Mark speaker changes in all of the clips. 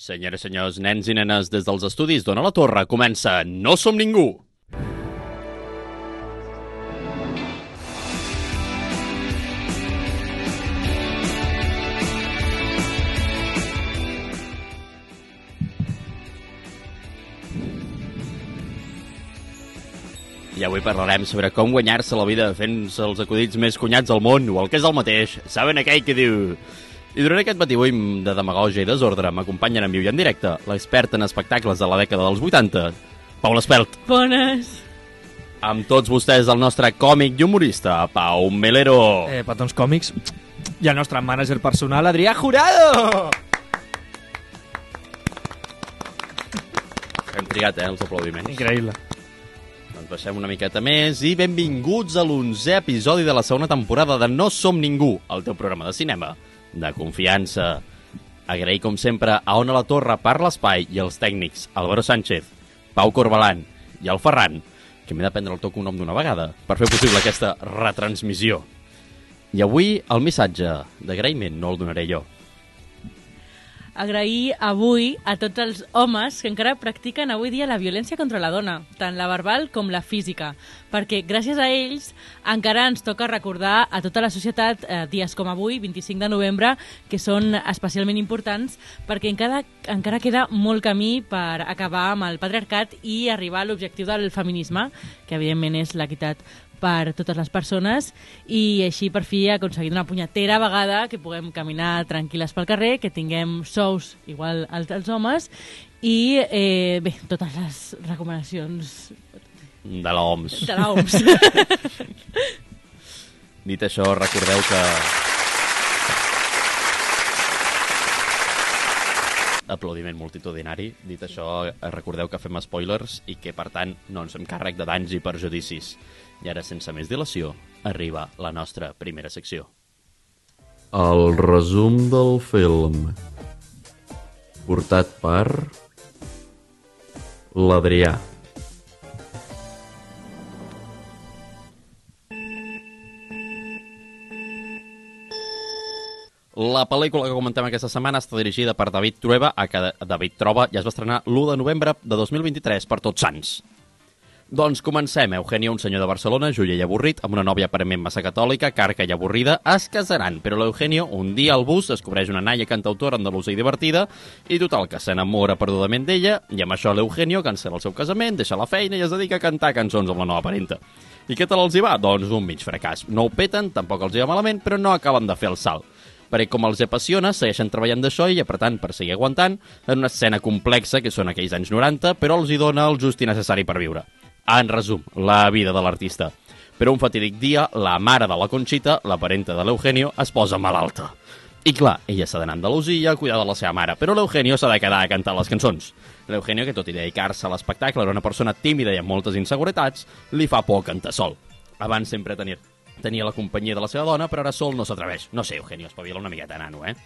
Speaker 1: Senyores, senyors, nens i nenes, des dels estudis d'Ona la Torre comença No som ningú! I avui parlarem sobre com guanyar-se la vida fent-se els acudits més cunyats del món, o el que és el mateix, saben aquell que diu... I durant aquest matí avui de demagogia i desordre m'acompanyen en viu i en directe l'expert en espectacles de la dècada dels 80, Paula Espelt.
Speaker 2: Bones.
Speaker 1: Amb tots vostès el nostre còmic i humorista, Pau Melero.
Speaker 3: eh, petons còmics i el nostre mànager personal, Adrià Jurado!
Speaker 1: Hem trigat, eh, els aplaudiments.
Speaker 3: Increïble.
Speaker 1: Doncs baixem una miqueta més i benvinguts a l'onzè episodi de la segona temporada de No Som Ningú, el teu programa de cinema de confiança. Agrair, com sempre, a Ona la Torre per l'espai i els tècnics Álvaro Sánchez, Pau Corbalan i el Ferran, que m'he de prendre el teu cognom d'una vegada per fer possible aquesta retransmissió. I avui el missatge d'agraïment no el donaré jo.
Speaker 2: Agrair avui a tots els homes que encara practiquen avui dia la violència contra la dona, tant la verbal com la física, perquè gràcies a ells encara ens toca recordar a tota la societat eh, dies com avui, 25 de novembre, que són especialment importants perquè encara, encara queda molt camí per acabar amb el patriarcat i arribar a l'objectiu del feminisme, que evidentment és l'equitat per totes les persones i així per fi aconseguir una punyetera vegada que puguem caminar tranquil·les pel carrer, que tinguem sous igual als, als homes i eh, bé, totes les recomanacions
Speaker 1: De l'OMS.
Speaker 2: de l'OMS.
Speaker 1: Dit això, recordeu que... Aplaudiment multitudinari. Dit això, eh, recordeu que fem spoilers i que, per tant, no ens fem càrrec de danys i perjudicis. I ara, sense més dilació, arriba la nostra primera secció.
Speaker 4: El resum del film portat per l'Adrià.
Speaker 1: La pel·lícula que comentem aquesta setmana està dirigida per David Trueba, a que David Troba ja es va estrenar l'1 de novembre de 2023 per Tots Sants. Doncs comencem. Eugenio, un senyor de Barcelona, joia i avorrit, amb una nòvia aparentment massa catòlica, carca i avorrida, es casaran, però l'Eugenio un dia al bus descobreix una naia cantautora andalusa i divertida i total que s'enamora perdudament d'ella i amb això l'Eugenio cancela el seu casament, deixa la feina i es dedica a cantar cançons amb la nova parenta. I què tal els hi va? Doncs un mig fracàs. No ho peten, tampoc els hi va malament, però no acaben de fer el salt perquè com els apassiona, segueixen treballant d'això i apretant per seguir aguantant en una escena complexa que són aquells anys 90, però els hi dona el just i necessari per viure. En resum, la vida de l'artista. Però un fatídic dia, la mare de la Conxita, la parenta de l'Eugenio, es posa malalta. I clar, ella s'ha d'anar a Andalusia a cuidar de la seva mare, però l'Eugenio s'ha de quedar a cantar les cançons. L'Eugenio, que tot i dedicar-se a l'espectacle era una persona tímida i amb moltes inseguretats, li fa por cantar sol. Abans sempre tenia, tenia la companyia de la seva dona, però ara sol no s'atreveix. No sé, Eugenio, espavila una miqueta, nano, eh?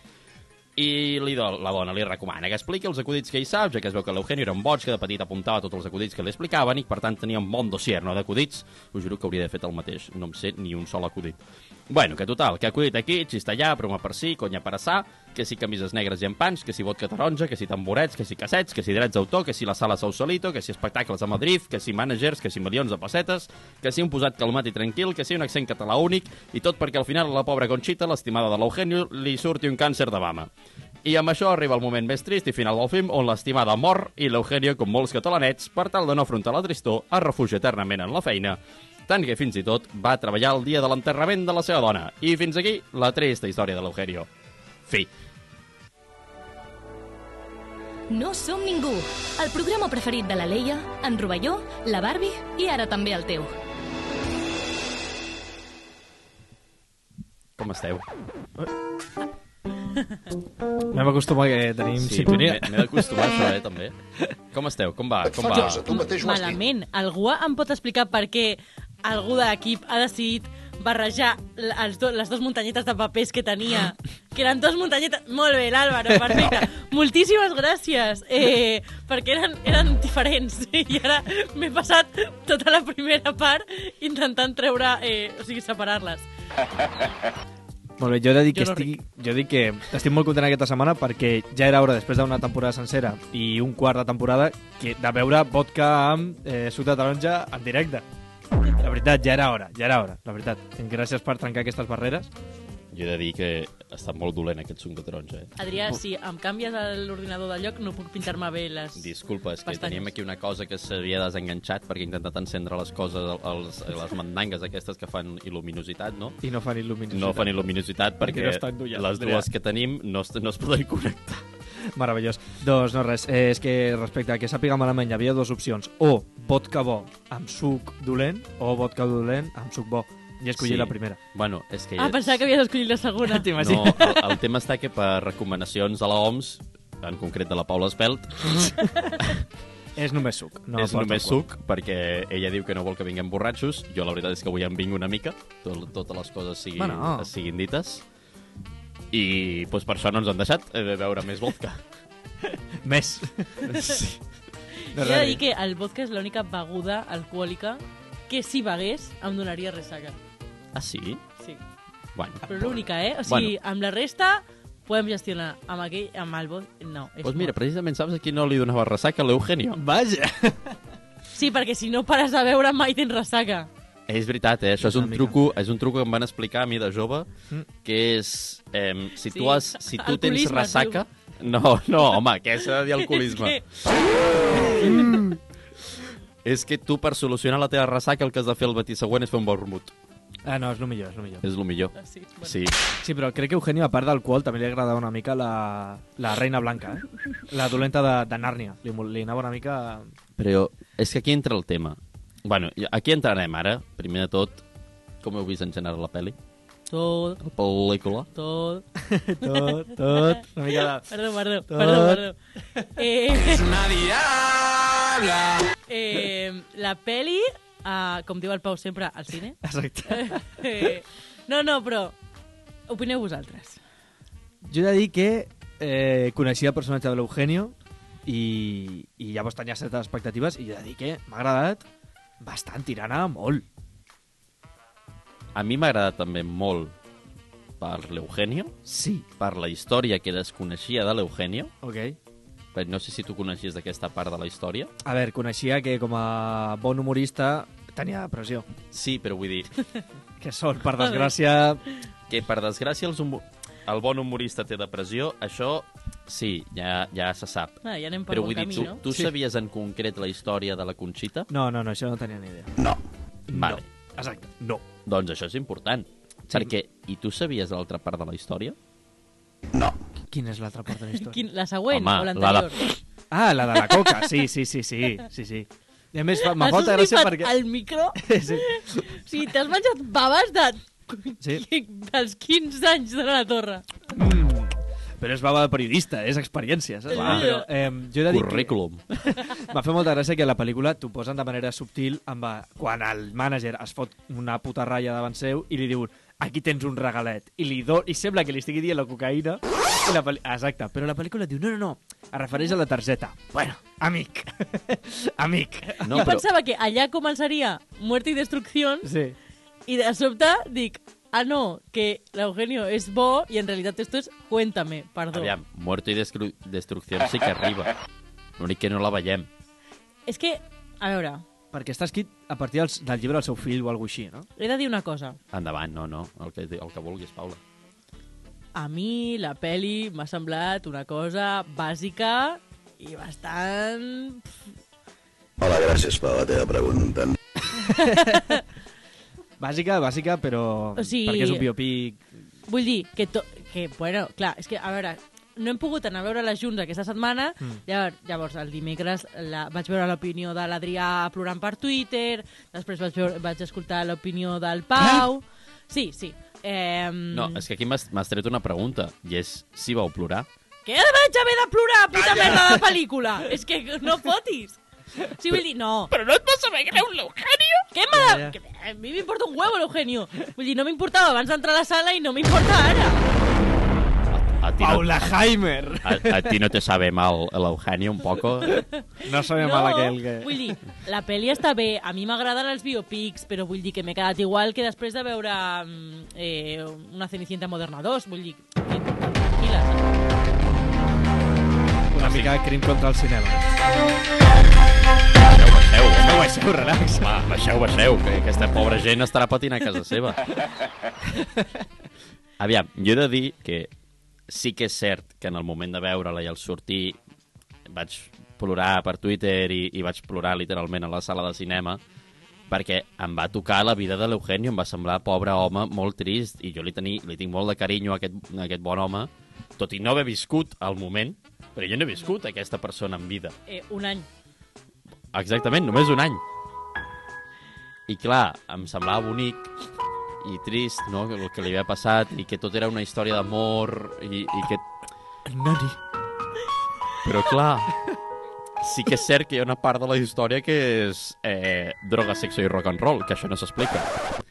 Speaker 1: I li do, la dona li recomana que expliqui els acudits que hi sap, ja que es veu que l'Eugenio era un boig que de petit apuntava tots els acudits que li explicaven i que, per tant tenia un bon dossier no, d'acudits. Us juro que hauria de fet el mateix, no em sé ni un sol acudit. Bueno, que total, que acudit aquí, xista allà, broma per sí, conya per assar, que si camises negres i empans, que si vodka taronja, que si tamborets, que si cassets, que si drets d'autor, que si la sala Sausalito, que si espectacles a Madrid, que si managers, que si milions de pessetes, que si un posat calmat i tranquil, que si un accent català únic, i tot perquè al final a la pobra Conxita, l'estimada de l'Eugenio, li surti un càncer de mama. I amb això arriba el moment més trist i final del film on l'estimada mor i l'Eugenio, com molts catalanets, per tal de no afrontar la tristor, es refugia eternament en la feina, tant que fins i tot va treballar el dia de l'enterrament de la seva dona. I fins aquí la trista història de l'Eugenio. Fi.
Speaker 5: No som ningú. El programa preferit de la Leia, en Rovelló, la Barbie i ara també el teu.
Speaker 1: Com esteu?
Speaker 3: M'hem acostumat que tenim sí, sintonia.
Speaker 1: m'he m'he d'acostumar a això, eh, també. Com esteu? Com va? Com va?
Speaker 6: Fatiós, tu mateix ho has dit.
Speaker 2: Malament. Algú em pot explicar per què algú de l'equip ha decidit barrejar l- els do, les dues muntanyetes de papers que tenia, que eren dues muntanyetes... Molt bé, l'Àlvaro, perfecte. Moltíssimes gràcies, eh, perquè eren, eren diferents. I ara m'he passat tota la primera part intentant treure... Eh, o sigui, separar-les.
Speaker 3: Molt bé, jo he de dir que,
Speaker 2: Jo no
Speaker 3: estic, jo dic que estic molt content aquesta setmana perquè ja era hora, després d'una temporada sencera i un quart de temporada, que, de veure vodka amb eh, suc de taronja en directe. La veritat, ja era hora, ja era hora, la veritat. Gràcies per trencar aquestes barreres.
Speaker 1: Jo he de dir que està molt dolent aquest suc de taronja, eh?
Speaker 2: Adrià, si em canvies l'ordinador de lloc, no puc pintar-me bé les...
Speaker 1: Disculpa, és que
Speaker 2: Pestanyes.
Speaker 1: teníem aquí una cosa que s'havia desenganxat perquè he intentat encendre les coses, els, les mandangues aquestes que fan il·luminositat, no?
Speaker 3: I no fan il·luminació.
Speaker 1: No fan il·luminositat
Speaker 3: Perquè
Speaker 1: perquè
Speaker 3: no estan dullades,
Speaker 1: les
Speaker 3: Andrea.
Speaker 1: dues que tenim no es, no es poden connectar.
Speaker 3: Meravellós. Doncs no res, eh, és que respecte a que sàpiga malament hi havia dues opcions. O vodka bo amb suc dolent o vodka dolent amb suc bo. I escollir
Speaker 1: Sí.
Speaker 3: sí. la primera.
Speaker 1: Bueno, és que...
Speaker 2: Ah, pensava que havies escollit la segona.
Speaker 1: No, el, el tema està que per recomanacions de la OMS, en concret de la Paula Espelt,
Speaker 3: És només suc. No
Speaker 1: no, és
Speaker 3: porta
Speaker 1: només
Speaker 3: alcohol.
Speaker 1: suc, perquè ella diu que no vol que vinguem borratxos. Jo la veritat és que avui em vinc una mica, tot, totes les coses siguin,
Speaker 3: Bueno.
Speaker 1: bueno. siguin dites. I doncs, per això no ens han deixat eh, beure més vodka.
Speaker 3: Més.
Speaker 2: Jo he de dir que el vodka és l'única beguda alcohòlica que si begués em donaria ressaca.
Speaker 1: Ah, sí?
Speaker 2: Sí.
Speaker 1: Bueno.
Speaker 2: Però l'única, eh? O sigui, bueno. amb la resta podem gestionar. Amb aquell, amb el vodka, no. és
Speaker 1: Doncs pues mira,
Speaker 2: mort.
Speaker 1: precisament saps a qui no li donava ressaca? A l'Eugenio.
Speaker 3: Vaja.
Speaker 2: Sí, perquè si no pares de beure mai tens ressaca.
Speaker 1: És veritat, eh? Això és
Speaker 3: Una
Speaker 1: un,
Speaker 3: mica.
Speaker 1: truco, és un truco que em van explicar a mi de jove, que és, eh, si,
Speaker 2: Mm. Sí.
Speaker 1: tu has, si tu tens
Speaker 2: Alcoholisme,
Speaker 1: ressaca... No, no, home, què s'ha de dir alcoholisme?
Speaker 2: És
Speaker 1: És que tu, per solucionar la teva ressaca, el que has de fer el matí següent és fer un vermut.
Speaker 3: Ah, no, és el millor, és el millor.
Speaker 1: És el millor.
Speaker 2: que... Ah, Sí, bueno.
Speaker 1: Sí.
Speaker 3: Sí, però crec que a Eugenio, a part d'alcohol, també li agradava una mica la, la reina blanca, eh? La dolenta de, de Nàrnia. Li, mol- li anava una mica...
Speaker 1: Però és que aquí entra el tema. Bueno, i aquí entrarem ara, primer de tot, com heu vist en general la pel·li?
Speaker 2: Tot,
Speaker 1: La pel·lícula?
Speaker 2: tot...
Speaker 3: Tot, tot, una mica de...
Speaker 2: Perdó, perdó,
Speaker 3: Tot.
Speaker 2: perdó, perdó. Eh... És una diabla! Eh, la peli, eh, com diu el Pau sempre, al cine.
Speaker 3: Exacte.
Speaker 2: Eh, no, no, però opineu vosaltres.
Speaker 3: Jo he de dir que eh, coneixia el personatge de l'Eugenio i, i llavors tenia certes expectatives i jo he de dir que m'ha agradat bastant tirant a molt.
Speaker 1: A mi m'ha agradat també molt per l'Eugenio,
Speaker 3: Sí.
Speaker 1: per la història que desconeixia de l'Eugenio,
Speaker 3: Ok.
Speaker 1: Però no sé si tu coneixies d'aquesta part de la història.
Speaker 3: A veure, coneixia que com a bon humorista tenia depressió.
Speaker 1: Sí, però vull dir
Speaker 3: Que sort, per desgràcia...
Speaker 1: que, per desgràcia, els humo- el bon humorista té depressió. Això, sí, ja, ja se sap.
Speaker 2: Ah, ja anem per
Speaker 1: Però
Speaker 2: bon
Speaker 1: vull dir,
Speaker 2: camí,
Speaker 1: tu,
Speaker 2: no?
Speaker 1: tu sabies en concret la història de la Conxita?
Speaker 3: No, no, no, això no tenia ni idea.
Speaker 1: Vale.
Speaker 3: No. Exacte. No.
Speaker 1: Doncs això és important. Sí. Perquè, i tu sabies l'altra part de la història?
Speaker 3: Quina és l'altra part de la història?
Speaker 2: Quin, la següent
Speaker 1: Home,
Speaker 2: o
Speaker 1: la
Speaker 2: l'anterior?
Speaker 1: de-
Speaker 3: Ah, la de la coca, sí, sí, sí, sí, sí, sí. I a més, fa- me
Speaker 2: Has
Speaker 3: fa molta gràcia
Speaker 2: esnipat
Speaker 3: perquè...
Speaker 2: El micro?
Speaker 3: Sí.
Speaker 2: Sí, t'has menjat baves de... Sí.
Speaker 3: Sí.
Speaker 2: dels 15 anys de la torre.
Speaker 3: Mm. Però és bava de periodista, és experiència, saps?
Speaker 2: Clar.
Speaker 3: Però, eh, jo he de dir
Speaker 1: Currículum.
Speaker 3: Que m'ha fet molta gràcia que a la pel·lícula t'ho posen de manera subtil amb a, quan el mànager es fot una puta ratlla davant seu i li diuen aquí tens un regalet i li do... i sembla que li estigui dient la cocaïna i la pel... exacte, però la pel·lícula diu no, no, no, es refereix a la targeta bueno, amic amic
Speaker 1: No,
Speaker 2: jo
Speaker 1: però
Speaker 2: pensava que allà començaria muerte i destrucció
Speaker 3: sí.
Speaker 2: i de sobte dic, ah no, que l'Eugenio és bo i en realitat esto és cuéntame, perdó.
Speaker 1: aviam, Muerto i destru Destrucció sí que arriba. L'únic que no la veiem.
Speaker 2: És que, a veure,
Speaker 3: perquè està escrit a partir dels, del llibre del seu fill o alguna així, no?
Speaker 2: he de dir una cosa.
Speaker 1: Endavant, no, no. El que, el que vulguis, Paula.
Speaker 2: A mi la peli m'ha semblat una cosa bàsica i bastant...
Speaker 6: Hola, gràcies per la teva pregunta.
Speaker 3: Bàsica, bàsica, però...
Speaker 2: O sigui-
Speaker 3: Perquè és un biopic...
Speaker 2: Vull dir que, to... que bueno, clar, és que, a veure, no hem pogut anar a veure-la junts aquesta setmana, mm. llavors, llavors el dimecres la... vaig veure l'opinió de l'Adrià plorant per Twitter, després vaig, veure... vaig escoltar l'opinió del Pau... Sí, sí. Eh...
Speaker 1: No, és que aquí m'has m'has tret una pregunta, i és si vau plorar.
Speaker 2: Que vaig haver de plorar, puta merda de pel·lícula! és que no fotis! Sí, vull dir, no. Però no et vas saber greu, l'Eugenio? Què m'ha de...
Speaker 3: Ja, ja.
Speaker 2: que A mi m'importa un huevo, l'Eugenio. Vull dir, no m'importava abans d'entrar a la sala i no m'importa ara.
Speaker 1: A, a ti no,
Speaker 3: Paula Heimer!
Speaker 1: a, a ti no te sabe mal l'Eugenia un poco?
Speaker 3: No sabem no. mal aquell que...
Speaker 2: vull dir, la pel·li està bé, a mi m'agraden els biopics, però vull dir que m'he quedat igual que després de veure mm, eh, una Cenicienta Moderna 2, vull dir... que- Tranquil·la, saps?
Speaker 3: Una mica crim contra el cinema.
Speaker 1: Baixeu, baixeu, home.
Speaker 3: Baixeu, relax.
Speaker 1: Va, baixeu, baixeu, que aquesta pobra gent estarà patint a casa seva. Aviam, jo he de dir que sí que és cert que en el moment de veure-la i al sortir vaig plorar per Twitter i, i vaig plorar literalment a la sala de cinema perquè em va tocar la vida de l'Eugenio, em va semblar pobre home molt trist i jo li, teni, li tinc molt de carinyo a aquest, a aquest bon home, tot i no haver viscut al moment, però jo no he viscut aquesta persona en vida.
Speaker 2: Eh, un any.
Speaker 1: Exactament, només un any. I clar, em semblava bonic i trist, no?, el que li havia passat i que tot era una història d'amor i, i que...
Speaker 3: Nani.
Speaker 1: Però clar, sí que és cert que hi ha una part de la història que és eh, droga, sexo i rock and roll, que això no s'explica.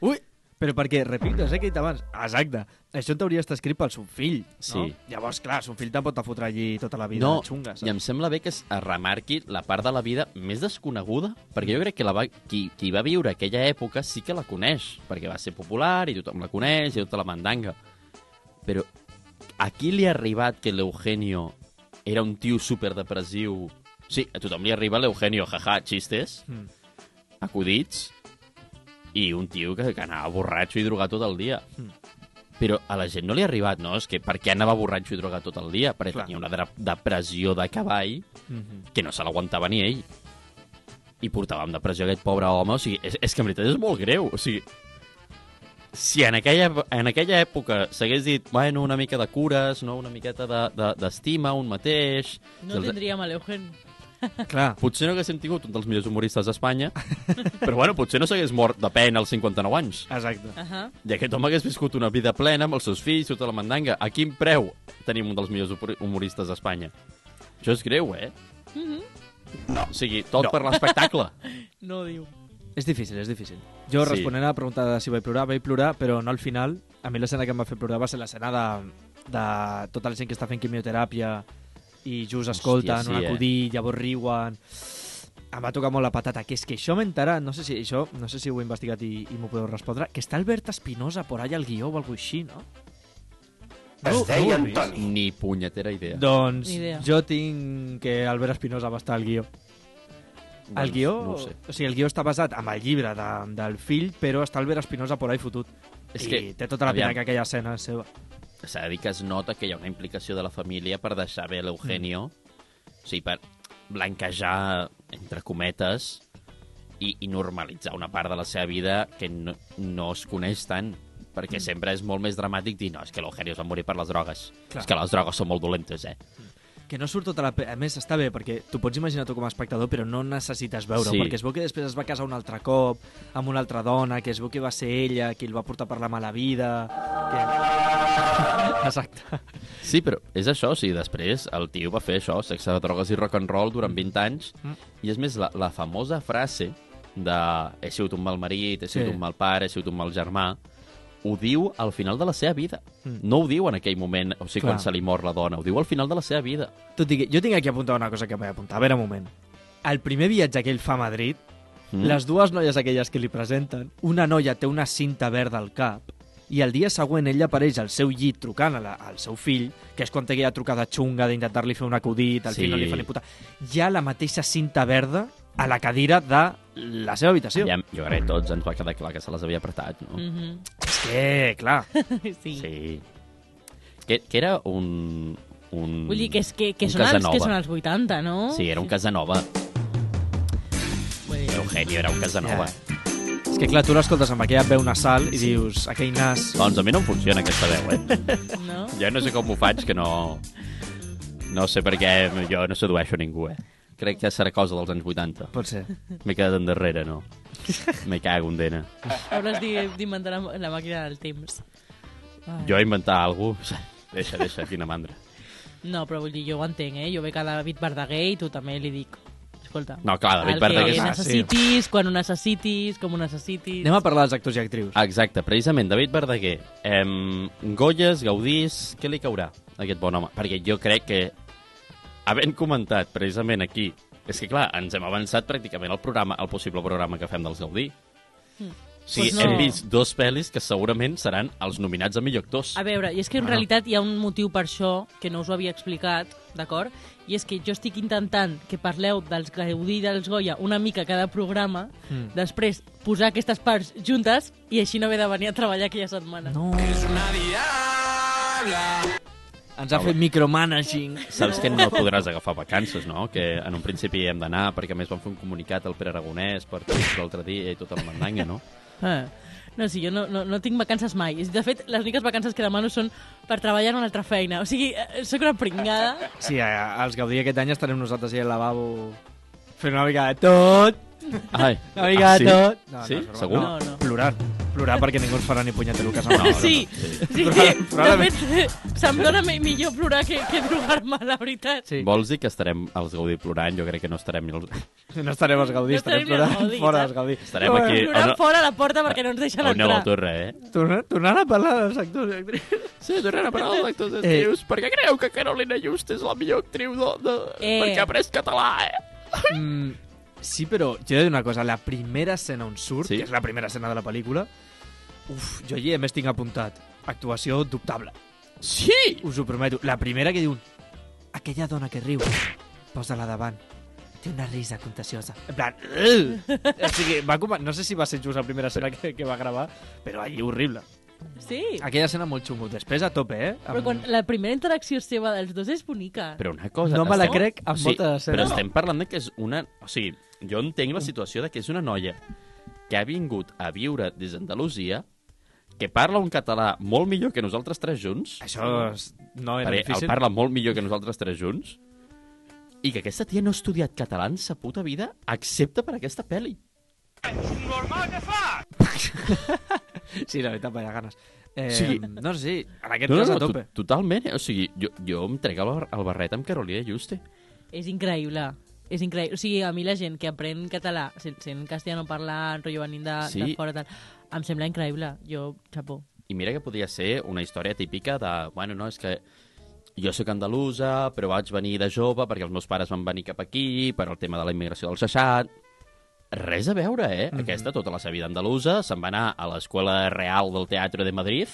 Speaker 3: Ui, però perquè, repito, és el que he dit abans. Exacte. Això en teoria està escrit pel son fill, no?
Speaker 1: Sí.
Speaker 3: Llavors, clar, son fill tampoc t'ha fotre allí tota la vida
Speaker 1: No,
Speaker 3: de xunga,
Speaker 1: i em
Speaker 3: saps?
Speaker 1: sembla bé que es remarqui la part de la vida més desconeguda, perquè jo crec que la va, qui, qui va viure aquella època sí que la coneix, perquè va ser popular i tothom la coneix i tota la mandanga. Però a qui li ha arribat que l'Eugenio era un tio superdepressiu? Sí, a tothom li arriba l'Eugenio, jaja, xistes,
Speaker 3: Mm.
Speaker 1: acudits, i un tio que, que anava borratxo i drogat tot el dia.
Speaker 3: Mm.
Speaker 1: Però a la gent no li ha arribat, no? És que per què anava borratxo i drogat tot el dia? Perquè
Speaker 3: Clar.
Speaker 1: tenia una dra- depressió de cavall
Speaker 3: Mhm.
Speaker 1: que no se l'aguantava ni ell. I portava amb depressió aquest pobre home. O sigui, és, és que en veritat és molt greu. O sigui, si en aquella, en aquella època s'hagués dit, bueno, una mica de cures, no? una miqueta d'estima, de, d'estima un mateix...
Speaker 2: No tindríem a l'Eugen.
Speaker 3: Clar.
Speaker 1: Potser no haguéssim tingut un dels millors humoristes d'Espanya, però bueno, potser no s'hagués mort de pena als 59 anys.
Speaker 3: Exacte.
Speaker 2: Uh -huh.
Speaker 1: I aquest home hagués viscut una vida plena amb els seus fills, tota la mandanga. A quin preu tenim un dels millors humor- humoristes d'Espanya? Això és greu, eh?
Speaker 3: Mm-hmm.
Speaker 1: No. O sigui, tot no. per l'espectacle.
Speaker 2: No ho diu.
Speaker 3: És difícil, és difícil. Jo,
Speaker 1: Sí.
Speaker 3: sí. responent a la pregunta de si vaig plorar, vaig plorar, però no al final. A mi l'escena que em va fer plorar va ser l'escena de, de tota la gent que està fent quimioteràpia i just
Speaker 1: sí,
Speaker 3: escolten Hòstia, sí, un
Speaker 1: eh?
Speaker 3: acudit, eh? llavors riuen... Em va tocar molt la patata, que és que això m'he enterat, no sé si això, no sé si ho he investigat i, i m'ho podeu respondre, que està Albert Espinosa por allà al guió o alguna així, no?
Speaker 6: Es
Speaker 3: ho
Speaker 6: deia
Speaker 3: has vist?
Speaker 6: Antoni.
Speaker 1: Ni punyetera idea.
Speaker 3: Doncs
Speaker 2: Ni idea.
Speaker 3: jo tinc que Albert Espinosa va estar al guió. El
Speaker 1: Doncs,
Speaker 3: guió,
Speaker 1: No ho sé.
Speaker 3: o sigui, el guió està basat en el llibre de, del fill, però està Albert Espinosa por ahí fotut.
Speaker 1: És
Speaker 3: I
Speaker 1: que,
Speaker 3: té tota la pena
Speaker 1: aviam.
Speaker 3: que aquella escena és seva.
Speaker 1: S'ha de dir que es nota que hi ha una implicació de la família per deixar bé l'Eugenio, mm. o sigui, per blanquejar, entre cometes, i, i normalitzar una part de la seva vida que no, no es coneix tant, perquè mm. sempre és molt més dramàtic dir, no, és que l'Eugenio es va morir per les drogues,
Speaker 3: Clar.
Speaker 1: és que les drogues són molt dolentes, eh?
Speaker 3: Que no surt tota la... pe- A més, està bé, perquè tu pots imaginar tu com a espectador, però no necessites veure
Speaker 1: Sí.
Speaker 3: sí. perquè es veu que després es va casar un altre cop, amb una altra dona, que es veu que va ser ella qui el va portar per la mala vida... Que... Exacte.
Speaker 1: Sí, però és això, o sigui, després el tio va fer això, sexe, drogues i rock and roll durant 20 anys,
Speaker 3: Mm.
Speaker 1: i és més, la, la famosa frase de he sigut un mal marit, he sigut
Speaker 3: Sí.
Speaker 1: un mal pare, he sigut un mal germà, ho diu al final de la seva vida.
Speaker 3: Mm.
Speaker 1: No ho diu en aquell moment, o sigui,
Speaker 3: Clar.
Speaker 1: quan se li mor la dona, ho diu al final de la seva vida.
Speaker 3: Tot i que jo tinc aquí apuntada una cosa que vaig apuntar. A veure, un moment. El primer viatge que ell fa a Madrid,
Speaker 1: Mm?
Speaker 3: Les dues noies aquelles que li presenten, una noia té una cinta verda al cap i el dia següent ell apareix al seu llit trucant a la, al seu fill, que és quan té aquella trucada xunga d'intentar-li fer un acudit, al
Speaker 1: Sí.
Speaker 3: sí. final li fa ni puta... Hi ha la mateixa cinta verda a la cadira de la seva habitació.
Speaker 1: Ja, jo crec que tots ens va quedar clar que se les havia apretat, no? Mm.
Speaker 2: Mm
Speaker 3: És que, clar,
Speaker 2: -hmm. sí. sí.
Speaker 1: Sí. Que, que era un... un
Speaker 2: Vull dir que, és que, que,
Speaker 1: un
Speaker 2: són, els, que
Speaker 1: Casanova.
Speaker 2: són els 80, no?
Speaker 1: Sí, era un Casanova.
Speaker 2: Vull dir,
Speaker 1: Eugenio era un Casanova. Yeah.
Speaker 3: és que clar, tu l'escoltes amb aquella veu nasal i dius, aquell nas...
Speaker 1: Doncs a mi no em funciona aquesta veu, eh?
Speaker 2: No?
Speaker 1: Jo no sé com ho faig, que no... No sé per què jo no sedueixo ningú, eh? Crec que serà cosa dels anys 80.
Speaker 3: Pot ser.
Speaker 1: M'he quedat endarrere, no? Me cago en dena.
Speaker 2: Hauràs d'i- d'inventar la, la màquina del temps. Ai.
Speaker 1: Jo inventar alguna cosa... Deixa, deixa, quina mandra.
Speaker 2: No, però vull dir, jo ho entenc, eh? Jo veig a David Verdaguer i tu també li dic... Escolta,
Speaker 1: No, clar, David
Speaker 2: el
Speaker 1: Verdaguer-
Speaker 2: que
Speaker 1: Ah,
Speaker 3: sí.
Speaker 2: necessitis, quan ho necessitis, com ho necessitis...
Speaker 3: Anem a parlar dels
Speaker 1: Ah,
Speaker 3: actors i actrius.
Speaker 1: Exacte, precisament, David Verdaguer. Em... Goyes, Gaudís, què li caurà? aquest bon home, perquè jo crec que, havent comentat precisament aquí, és que, clar, ens hem avançat pràcticament al programa, al possible programa que fem dels Gaudí. O sigui, pues
Speaker 2: Pues Doncs no.
Speaker 1: no. hem vist dos pel·lis que segurament seran els nominats a millor actors.
Speaker 2: A veure, i és que
Speaker 1: Ah.
Speaker 2: en realitat hi ha un motiu per això que no us ho havia explicat, d'acord? I és que jo estic intentant que parleu dels Gaudí i dels Goya una mica cada programa,
Speaker 1: Hmm.
Speaker 2: mm. després posar aquestes parts juntes i així no haver de venir a treballar aquella setmana. No.
Speaker 1: ah,
Speaker 3: Ens ha fet micromanaging.
Speaker 1: Saps que no podràs agafar vacances, no? Que en un principi hem d'anar, perquè a més van fer un comunicat al Pere Aragonès per Twitch l'altre dia i tota la mandanga, no?
Speaker 2: Ah. No, sí, jo no, no, no tinc vacances mai. De fet, les úniques vacances que demano són per treballar en una altra feina. O sigui, eh, sóc una pringada.
Speaker 3: Sí, eh, els Gaudí aquest any estarem nosaltres allà al lavabo fent una mica de tot,
Speaker 1: Ai,
Speaker 3: una mica de tot.
Speaker 1: Ah, sí? sí?
Speaker 3: és broma.
Speaker 1: Segur?
Speaker 2: No, no.
Speaker 3: Plorant. Plorant perquè ningú ens farà ni punyetero que
Speaker 1: No, no, no.
Speaker 2: sí, sí,
Speaker 3: Probable-
Speaker 2: de
Speaker 3: probablement.
Speaker 2: fet, se'm dóna mi- millor plorar que, que drogar-me, la veritat.
Speaker 3: Sí.
Speaker 1: Vols dir que estarem als Gaudí plorant? Jo crec que no estarem... ni als-
Speaker 3: No estarem als Gaudí,
Speaker 2: No
Speaker 3: estarem
Speaker 2: estarem ni als
Speaker 3: plorant
Speaker 2: Gaudí,
Speaker 3: fora
Speaker 2: saps?
Speaker 3: dels Gaudí.
Speaker 1: Estarem aquí...
Speaker 2: Plorant
Speaker 1: a una-
Speaker 2: fora la porta perquè no ens deixen
Speaker 1: a una
Speaker 2: entrar.
Speaker 1: torre, eh?
Speaker 3: Torna- Tornant a parlar dels actors i actrius.
Speaker 1: Sí, tornant a parlar dels actors i
Speaker 3: actrius,
Speaker 1: perquè creu que Carolina Just és la millor actriu de, de...
Speaker 2: Eh. perquè ha
Speaker 1: après català, eh?
Speaker 3: Mm, sí, però jo he de dir una cosa. La primera escena on surt,
Speaker 1: Sí?
Speaker 3: sí? que és la primera escena de la pel·lícula, uf, jo allí a més tinc apuntat. Actuació dubtable.
Speaker 1: Sí!
Speaker 3: Us ho prometo. La primera que diu... Aquella dona que riu, posa-la davant. Té una risa contagiosa. En plan... "Ugh!" o sigui, va com... No sé si va ser just la primera escena que, que va gravar, però allí horrible.
Speaker 2: Sí,
Speaker 3: Aquella escena molt xungo. Després a tope, eh?
Speaker 2: però quan la primera interacció seva dels dos és bonica.
Speaker 1: Però una cosa...
Speaker 3: No me la
Speaker 1: estem-
Speaker 3: crec amb
Speaker 1: sí,
Speaker 3: moltes escenes.
Speaker 1: Però estem parlant de que és una... O sigui, jo entenc la situació de que és una noia que ha vingut a viure des d'Andalusia, que parla un català molt millor que nosaltres tres junts,
Speaker 3: Això es- no era
Speaker 1: perquè el
Speaker 3: difícil.
Speaker 1: parla molt millor que nosaltres tres junts, i que aquesta tia no ha estudiat català en sa puta vida, excepte per aquesta pel·li.
Speaker 3: Sí, la veritat, vaya ganes. Eh,
Speaker 1: Sí.
Speaker 3: No sé, sí, en aquest
Speaker 1: No, no,
Speaker 3: cas
Speaker 1: no,
Speaker 3: a
Speaker 1: to-
Speaker 3: tope.
Speaker 1: totalment. eh? O sigui, jo, jo em trec el, bar- el barret amb Carolina Juste.
Speaker 2: És increïble. És increïble. O sigui, a mi la gent que aprèn català, sent, sent castellano parlant, rotllo venint de, sí. de
Speaker 1: Sí.
Speaker 2: fora, tal, em sembla increïble. Jo, xapó.
Speaker 1: I mira que podia ser una història típica de... Bueno, no, és que jo sóc andalusa, però vaig venir de jove perquè els meus pares van venir cap aquí per el tema de la immigració del 60. Res a veure, eh?
Speaker 3: Mhm.
Speaker 1: Mm -hmm. Aquesta, tota la seva vida andalusa, se'n va anar a l'Escola Real del Teatre de Madrid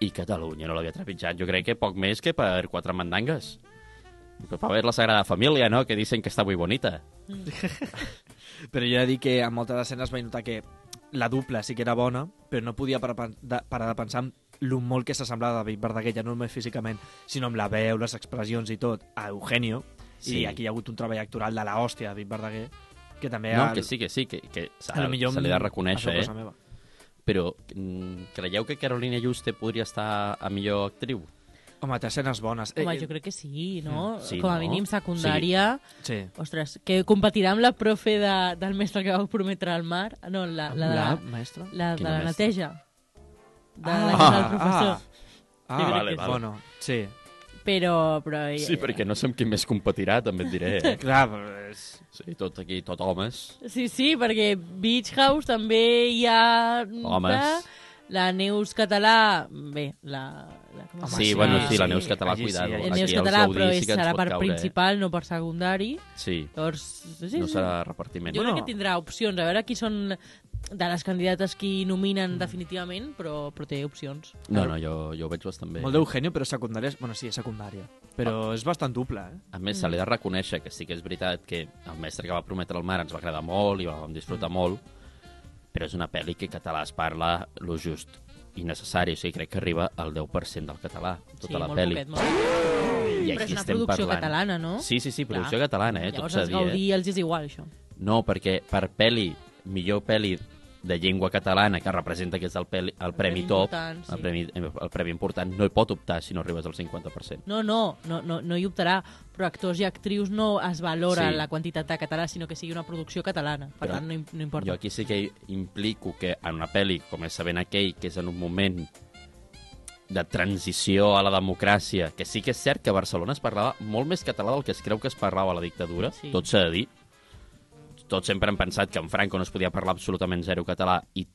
Speaker 1: i Catalunya no l'havia trepitjat, jo crec que poc més que per quatre mandangues. Però per veure la Sagrada Família, no?, que dicen que està muy bonita.
Speaker 3: Però jo he de dir que en moltes escenes vaig notar que la dupla sí que era bona, però no podia parar pen- de, parar de pensar en lo molt que s'assemblava a David Verdaguer, ja no només físicament, sinó amb la veu, les expressions i tot, a Eugenio. Sí.
Speaker 1: Sí.
Speaker 3: I aquí hi ha hagut un treball actoral de la hòstia de David Verdaguer, que també...
Speaker 1: No,
Speaker 3: al-
Speaker 1: que sí, que sí, que, que se,
Speaker 3: a lo Eh, millor
Speaker 1: se li ha de
Speaker 3: això
Speaker 1: reconèixer,
Speaker 3: és
Speaker 1: eh?
Speaker 3: cosa meva.
Speaker 1: Però mm, creieu que Carolina Juste podria estar a millor actriu?
Speaker 3: Home, té escenes bones. Eh,
Speaker 2: Home, jo crec que sí, no?
Speaker 1: Eh, Mm, Sí,
Speaker 2: Com a
Speaker 1: no?
Speaker 2: mínim, secundària... Sí.
Speaker 3: Sí.
Speaker 2: Ostres, que competirà amb la profe de, del mestre que vau prometre al mar. No, la, la, de,
Speaker 3: La maestra?
Speaker 2: La de
Speaker 1: Quina
Speaker 2: la
Speaker 1: mestra?
Speaker 2: neteja. De
Speaker 3: Ah,
Speaker 2: la casa del professor.
Speaker 3: Ah,
Speaker 1: Jo crec
Speaker 3: vale,
Speaker 1: que sí.
Speaker 3: vale. Bueno, sí.
Speaker 2: Però, però... eh, ella-
Speaker 1: Sí, perquè no sé amb qui més competirà, també et diré. Eh?
Speaker 3: Clar, però és...
Speaker 1: Sí, tot aquí, tot homes.
Speaker 2: Sí, sí, perquè Beach House també hi ha...
Speaker 1: Homes.
Speaker 2: La Neus Català... Bé, la... la com es
Speaker 3: Home,
Speaker 1: sí,
Speaker 2: diu?
Speaker 1: bueno, sí, la
Speaker 3: sí,
Speaker 1: Neus Català,
Speaker 3: allí sí,
Speaker 1: cuidado.
Speaker 3: allí
Speaker 2: La
Speaker 3: sí.
Speaker 1: Aquí
Speaker 2: eh, Neus
Speaker 1: els
Speaker 2: Català,
Speaker 1: Gaudí
Speaker 2: però
Speaker 1: sí
Speaker 2: és,
Speaker 1: que ens
Speaker 2: serà
Speaker 1: pot
Speaker 2: per
Speaker 1: caure,
Speaker 2: principal, no per secundari.
Speaker 1: Eh? Sí,
Speaker 2: Llavors, sí, sí,
Speaker 1: no
Speaker 2: sí.
Speaker 1: serà repartiment.
Speaker 2: Jo
Speaker 1: no.
Speaker 2: crec que tindrà opcions. A veure qui són de les candidates qui
Speaker 1: Mm.
Speaker 2: nominen definitivament, però, però té opcions.
Speaker 1: No, no, jo, jo ho veig bastant bé.
Speaker 3: Molt d'Eugenio, però secundària... és- Bueno, sí, és secundària. Però
Speaker 1: Ah.
Speaker 3: és bastant doble, eh?
Speaker 1: A més, se li ha de reconèixer que sí que és veritat que el mestre que va prometre el mar ens va agradar molt i vam disfrutar mm. molt, però és una pel·li que català es parla lo just i necessari, o sigui, crec que arriba al 10% del català, tota
Speaker 2: sí,
Speaker 1: la
Speaker 2: molt
Speaker 1: pel·li.
Speaker 2: poquet, molt poquet.
Speaker 1: I
Speaker 2: Però és
Speaker 1: aquí
Speaker 2: una
Speaker 1: estem
Speaker 2: producció
Speaker 1: parlant...
Speaker 2: catalana, no?
Speaker 1: Sí, sí, sí, producció
Speaker 2: Clar.
Speaker 1: catalana, eh?
Speaker 2: Llavors,
Speaker 1: Tot s'ha
Speaker 2: als
Speaker 1: de dir, eh?
Speaker 2: Gaudí els és igual, això.
Speaker 1: No, perquè per pel·li, millor pel·li de llengua catalana, que representa que és el, pel·li, el, premi,
Speaker 2: premi
Speaker 1: top,
Speaker 2: important, sí.
Speaker 1: el, premi, el premi important, no hi pot optar si no arribes al 50%.
Speaker 2: No, no, no, no, no hi optarà, però actors i actrius no es valora
Speaker 1: Sí.
Speaker 2: la quantitat de català, sinó que sigui una producció catalana. Per
Speaker 1: Però
Speaker 2: tant, no, im- no
Speaker 1: Jo
Speaker 2: importa.
Speaker 1: aquí sí que implico que en una pel·li, com és Sabent aquell, que és en un moment de transició a la democràcia, que sí que és cert que a Barcelona es parlava molt més català del que es creu que es parlava a la dictadura,
Speaker 2: Sí.
Speaker 1: sí. tot s'ha de dir. Tots sempre han pensat que en Franco no es podia parlar absolutament zero català i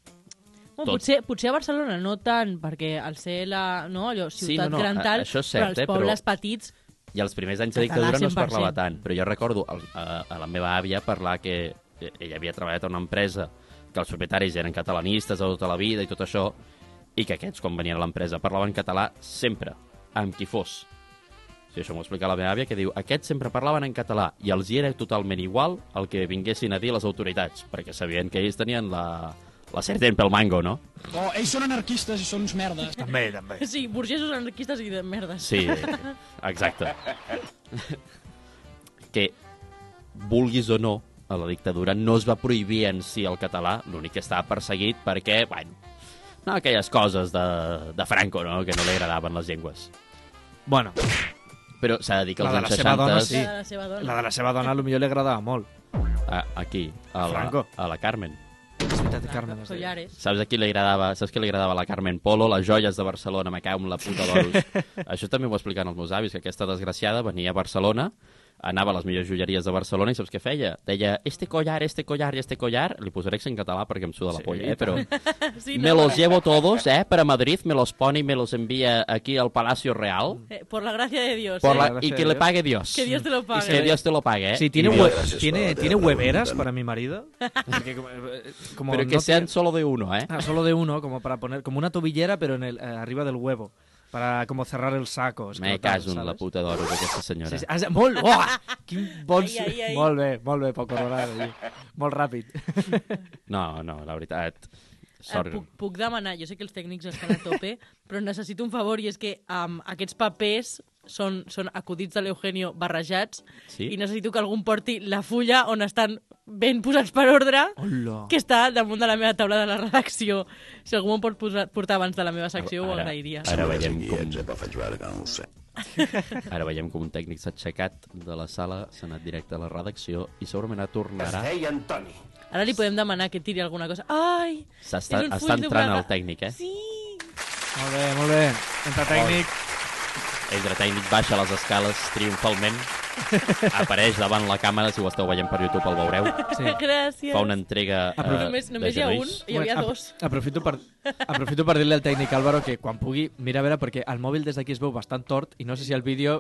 Speaker 2: Bueno, potser, potser a Barcelona no tant, perquè al ser la no, allò,
Speaker 1: Sí,
Speaker 2: ciutat
Speaker 1: no, no,
Speaker 2: gran
Speaker 1: a-
Speaker 2: tal,
Speaker 1: això és
Speaker 2: però
Speaker 1: cert,
Speaker 2: als
Speaker 1: eh, però-
Speaker 2: pobles petits...
Speaker 1: I els primers anys de
Speaker 2: Català,
Speaker 1: dictadura no es
Speaker 2: 100%.
Speaker 1: parlava tant, però jo recordo el, a, a la meva àvia parlar que eh, ella havia treballat a una empresa que els propietaris eren catalanistes de tota la vida i tot això, i que aquests, quan venien a l'empresa, parlaven català sempre, amb qui fos. O sigui, això m'ho explica la meva àvia, que diu aquests sempre parlaven en català i els hi era totalment igual el que vinguessin a dir les autoritats, perquè sabien que ells tenien la, la sertent pel mango, no?
Speaker 7: Oh, ells són anarquistes i són uns merdes.
Speaker 3: També, també.
Speaker 2: Sí, burgesos anarquistes i de merdes.
Speaker 1: Sí, exacte. que vulguis o no, a la dictadura no es va prohibir en si el català, l'únic que estava perseguit perquè, bueno, no, aquelles coses de, de Franco, no?, que no li agradaven les llengües.
Speaker 3: Bueno,
Speaker 1: Però s'ha de dir que
Speaker 3: La
Speaker 1: als
Speaker 3: de la
Speaker 1: anys
Speaker 3: seva
Speaker 1: 60...
Speaker 3: dona,
Speaker 2: La
Speaker 3: sí.
Speaker 2: de la seva dona.
Speaker 3: la de la seva dona potser li agradava molt.
Speaker 1: A, aquí, a la,
Speaker 3: Franco.
Speaker 1: a la Carmen.
Speaker 3: És veritat, Carme.
Speaker 2: Carmen,
Speaker 3: es deia.
Speaker 2: collares.
Speaker 1: Saps a qui li agradava? Saps què li agradava a la Carmen Polo? Les joies de Barcelona, me cago en la puta d'oros. Això també ho expliquen els meus avis, que aquesta desgraciada venia a Barcelona, anava a les millors joieries de Barcelona i saps què feia? Deia, este collar, este collar i este collar, li posaré accent català perquè em suda la
Speaker 3: Sí,
Speaker 1: polla, eh? però
Speaker 2: Sí,
Speaker 1: me los llevo todos, eh, per a Madrid, me los pone y me los envía aquí al Palacio Real,
Speaker 3: Mm.
Speaker 2: Eh, por la gracia de Dios.
Speaker 1: por
Speaker 2: eh?
Speaker 1: la... i que le pague Dios.
Speaker 2: Que Dios te lo pague.
Speaker 1: Que Dios te lo pague, eh?
Speaker 3: Sí,
Speaker 1: I
Speaker 3: ¿tiene,
Speaker 1: diu,
Speaker 3: hue- ¿tiene, ¿tiene hueveras para mi marido? Porque como, eh, como
Speaker 1: Pero que
Speaker 3: no
Speaker 1: sean solo de uno, eh?
Speaker 3: Ah, solo de uno, como para poner, como una tobillera, pero en el, eh, arriba del huevo, para como cerrar el saco. es que
Speaker 1: Me
Speaker 3: no tal,
Speaker 1: caso en la
Speaker 3: ¿sabes?
Speaker 1: puta d'oros d'aquesta senyora.
Speaker 3: Sí, sí, has- molt, uah, quin bon...
Speaker 2: Ai, ai, ai.
Speaker 3: Molt bé, molt bé, Paco Ronald. allí. Molt ràpid.
Speaker 1: No, no, la veritat...
Speaker 2: Sorry.
Speaker 1: Sorry.
Speaker 2: Eh, Puc, puc demanar, jo sé que els tècnics estan a tope, però necessito un favor i és que um, aquests papers són, són acudits de l'Eugenio barrejats
Speaker 1: Sí?
Speaker 2: i necessito que algú em porti la fulla on estan ben posats per ordre
Speaker 1: Oh,
Speaker 3: Hola.
Speaker 2: que està damunt de la meva taula de la redacció. Si algú em pot posar, portar abans de la meva secció ho agrairia.
Speaker 1: Ara veiem com... Ara veiem com un tècnic s'ha aixecat de la sala, s'ha anat directe a la redacció i segurament ara tornarà.
Speaker 2: Ara li podem demanar que tiri alguna cosa. Ai!
Speaker 1: S'està
Speaker 2: és un
Speaker 1: està
Speaker 2: full
Speaker 1: entrant
Speaker 2: doblada.
Speaker 1: el tècnic, eh?
Speaker 2: Sí!
Speaker 3: Molt bé, molt bé. Entra tècnic.
Speaker 1: Entre tècnic baixa les escales triomfalment, apareix davant la càmera, si ho esteu veient per YouTube el veureu,
Speaker 3: Sí.
Speaker 2: Gràcies.
Speaker 1: fa una entrega eh,
Speaker 2: Però només, només
Speaker 1: de
Speaker 2: hi ha un,
Speaker 1: genolls.
Speaker 2: hi havia
Speaker 3: Bueno, ap-
Speaker 2: dos.
Speaker 3: Aprofito per, aprofito per dir-li al tècnic Álvaro que quan pugui, mira a veure, perquè el mòbil des d'aquí es veu bastant tort i no sé si el vídeo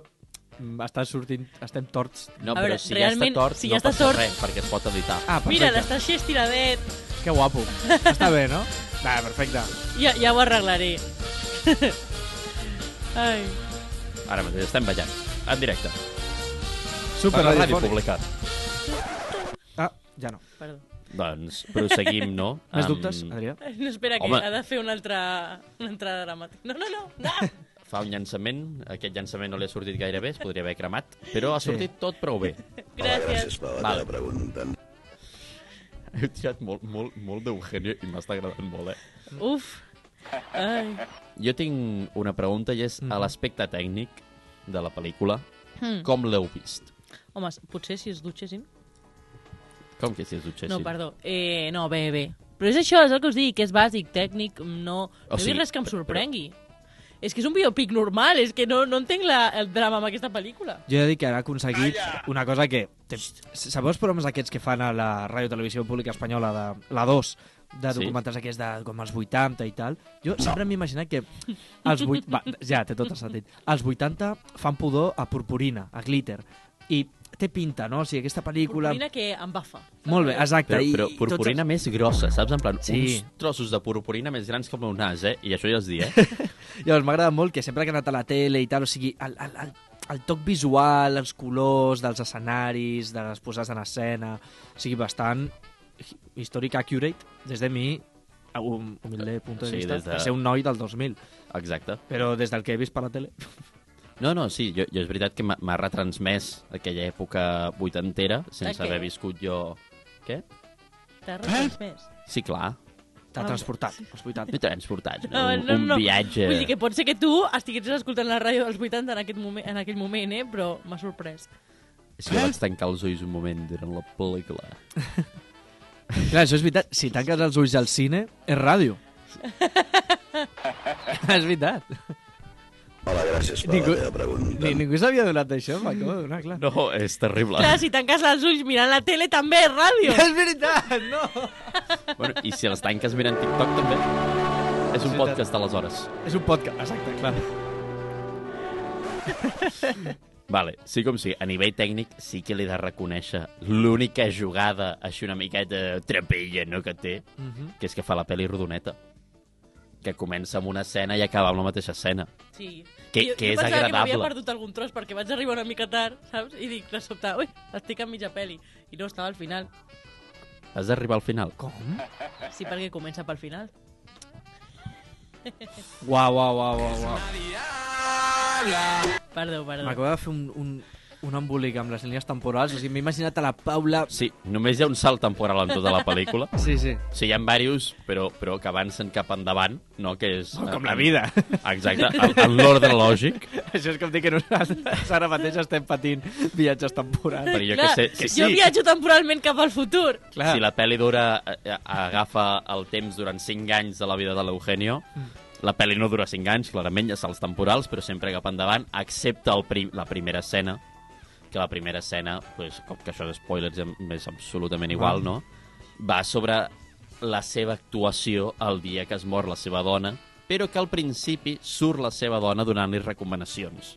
Speaker 3: mm, està sortint... Estem torts.
Speaker 1: No,
Speaker 2: A
Speaker 1: però
Speaker 2: veure,
Speaker 1: si ja està
Speaker 2: realment,
Speaker 1: tort,
Speaker 2: si
Speaker 1: no
Speaker 2: ja està
Speaker 1: passa
Speaker 2: tort-
Speaker 1: res, perquè es pot editar.
Speaker 3: Ah, perfecte.
Speaker 2: Mira, l'està així estiradet.
Speaker 3: Que guapo. Està bé, no? Va, perfecte.
Speaker 2: Ja, ja ho arreglaré. Ai.
Speaker 1: Ara mateix estem ballant, en directe, per
Speaker 3: Super,
Speaker 1: la
Speaker 3: ràdio
Speaker 1: ràdio pública.
Speaker 3: Ah, ja no.
Speaker 2: Perdó.
Speaker 1: Doncs prosseguim, no?
Speaker 3: Més
Speaker 1: Amb-
Speaker 3: dubtes, Adrià?
Speaker 2: No, espera, que
Speaker 1: Home.
Speaker 2: ha de fer una altra, una entrada dramàtica. No, no, no. no.
Speaker 1: fa un llançament, aquest llançament no li ha sortit gaire bé, es podria haver cremat, però ha
Speaker 3: Sí.
Speaker 1: sortit tot prou bé.
Speaker 2: Gràcies.
Speaker 1: Vale. Heu tirat molt, molt, molt d'Eugenio i m'està agradant molt, eh?
Speaker 2: Uf. Ai.
Speaker 1: Jo tinc una pregunta i és a l'aspecte tècnic de la pel·lícula.
Speaker 2: Mm.
Speaker 1: Com l'heu vist?
Speaker 2: Home, potser si es dutxessin...
Speaker 1: Com que si es dutxessin?
Speaker 2: No, perdó. Eh, no, bé, bé. Però és això, és el que us dic, que és bàsic, tècnic, no... No
Speaker 1: O
Speaker 2: o
Speaker 1: sigui,
Speaker 2: sigui, res que em
Speaker 1: però-
Speaker 2: sorprengui. És que és un biopic normal, és que no, no entenc la, el drama amb aquesta pel·lícula.
Speaker 3: Jo he de dir que ha aconseguit una cosa que... Té, sabeu els programes aquests que fan a la Ràdio Televisió Pública Espanyola, de la 2, de
Speaker 1: Sí.
Speaker 3: documentals aquests de com els 80 i tal? Jo sempre m'he imaginat que els 8... Va, ja, té tot el sentit. Els 80 fan pudor a purpurina, a glitter. I té pinta, no? O sigui, aquesta pel·lícula...
Speaker 2: Purpurina que embafa.
Speaker 3: Molt bé, exacte.
Speaker 1: Però,
Speaker 3: i-
Speaker 1: però
Speaker 3: i tots
Speaker 1: purpurina més grossa, saps? En plan,
Speaker 3: Sí.
Speaker 1: uns trossos de purpurina més grans com un nas, eh? I això ja es dir, eh?
Speaker 3: Llavors, m'agrada molt que sempre que he anat a la tele i tal, o sigui, el, el, el, el toc visual, els colors dels escenaris, de les posades en escena, o sigui, bastant hi- històric accurate, des de mi, a un humilde punt
Speaker 1: Eh,
Speaker 3: de
Speaker 1: Sí,
Speaker 3: vista,
Speaker 1: des de-
Speaker 3: de ser un noi del 2000,
Speaker 1: Exacte.
Speaker 3: però des del que he vist per la tele.
Speaker 1: No, no, sí, jo, jo és veritat que m'ha- m'ha retransmès aquella època vuitantera, sense
Speaker 2: De què?
Speaker 1: haver viscut jo... Què?
Speaker 2: T'ha res més.
Speaker 1: Sí, clar. Ah,
Speaker 3: T'ha transportat, als 80.
Speaker 1: No transportat, no?
Speaker 2: No,
Speaker 1: Un,
Speaker 2: no, no.
Speaker 1: un viatge...
Speaker 2: Vull dir que pot ser que tu estiguessis escoltant la ràdio dels 80 en, aquest moment, en aquell moment, eh? però m'ha sorprès.
Speaker 1: És que vaig tancar els ulls un moment durant la pel·lícula.
Speaker 3: Clar, això és veritat, si tanques els ulls al cine, és ràdio. és veritat. Ningú, ni, ningú s'havia donat d'això, m'acabo de donar, clar.
Speaker 1: No, és terrible.
Speaker 2: Clar, si tanques els ulls mirant la tele també és ràdio.
Speaker 3: És veritat, no!
Speaker 1: bueno, I si les tanques miren TikTok, també. És un
Speaker 3: Sí,
Speaker 1: podcast, aleshores.
Speaker 3: És un podcast, exacte, clar.
Speaker 1: Vale, sí com sí, a nivell tècnic sí que l'he de reconèixer l'única jugada així una miqueta trepilla no, que té,
Speaker 3: Mhm.
Speaker 1: que és que fa la pel·li rodoneta que comença amb una escena i acaba amb la mateixa escena.
Speaker 2: Sí.
Speaker 1: Que-
Speaker 2: I jo,
Speaker 1: que
Speaker 2: jo
Speaker 1: és
Speaker 2: pensava que m'havia
Speaker 1: agradable.
Speaker 2: perdut algun tros perquè vaig arribar una mica tard, saps? I dic, de sobte, ui, estic en mitja peli. I no, estava al final.
Speaker 1: Has d'arribar al final. Com?
Speaker 2: Sí, perquè comença pel final.
Speaker 3: Uau, uau, uau, uau, uau.
Speaker 2: Perdó,
Speaker 1: Eh.
Speaker 2: perdó.
Speaker 3: M'acaba de fer un, un, un embolic amb les línies temporals. O sigui, m'he imaginat a la Paula...
Speaker 1: Sí, només hi ha un salt temporal en tota la pel·lícula.
Speaker 3: Sí, sí.
Speaker 1: Sí, hi ha diversos, però, però que avancen cap endavant, no? Que és...
Speaker 3: Oh, Com la vida.
Speaker 1: Exacte, en, en l'ordre lògic.
Speaker 3: Això és com dir que nosaltres ara mateix estem patint viatges temporals.
Speaker 1: Però jo
Speaker 2: Clar,
Speaker 1: que sé... Si,
Speaker 2: jo viatjo temporalment cap al futur.
Speaker 3: Clar.
Speaker 1: Si la pel·li dura, eh, agafa el temps durant 5 anys de la vida de l'Eugenio, la pel·li no dura 5 anys, clarament, hi ha salts temporals, però sempre cap endavant, excepte el prim, la primera escena, que la primera escena, pues, com que això d'espoilers és absolutament igual, no? Va sobre la seva actuació el dia que es mor la seva dona, però que al principi surt la seva dona donant-li recomanacions,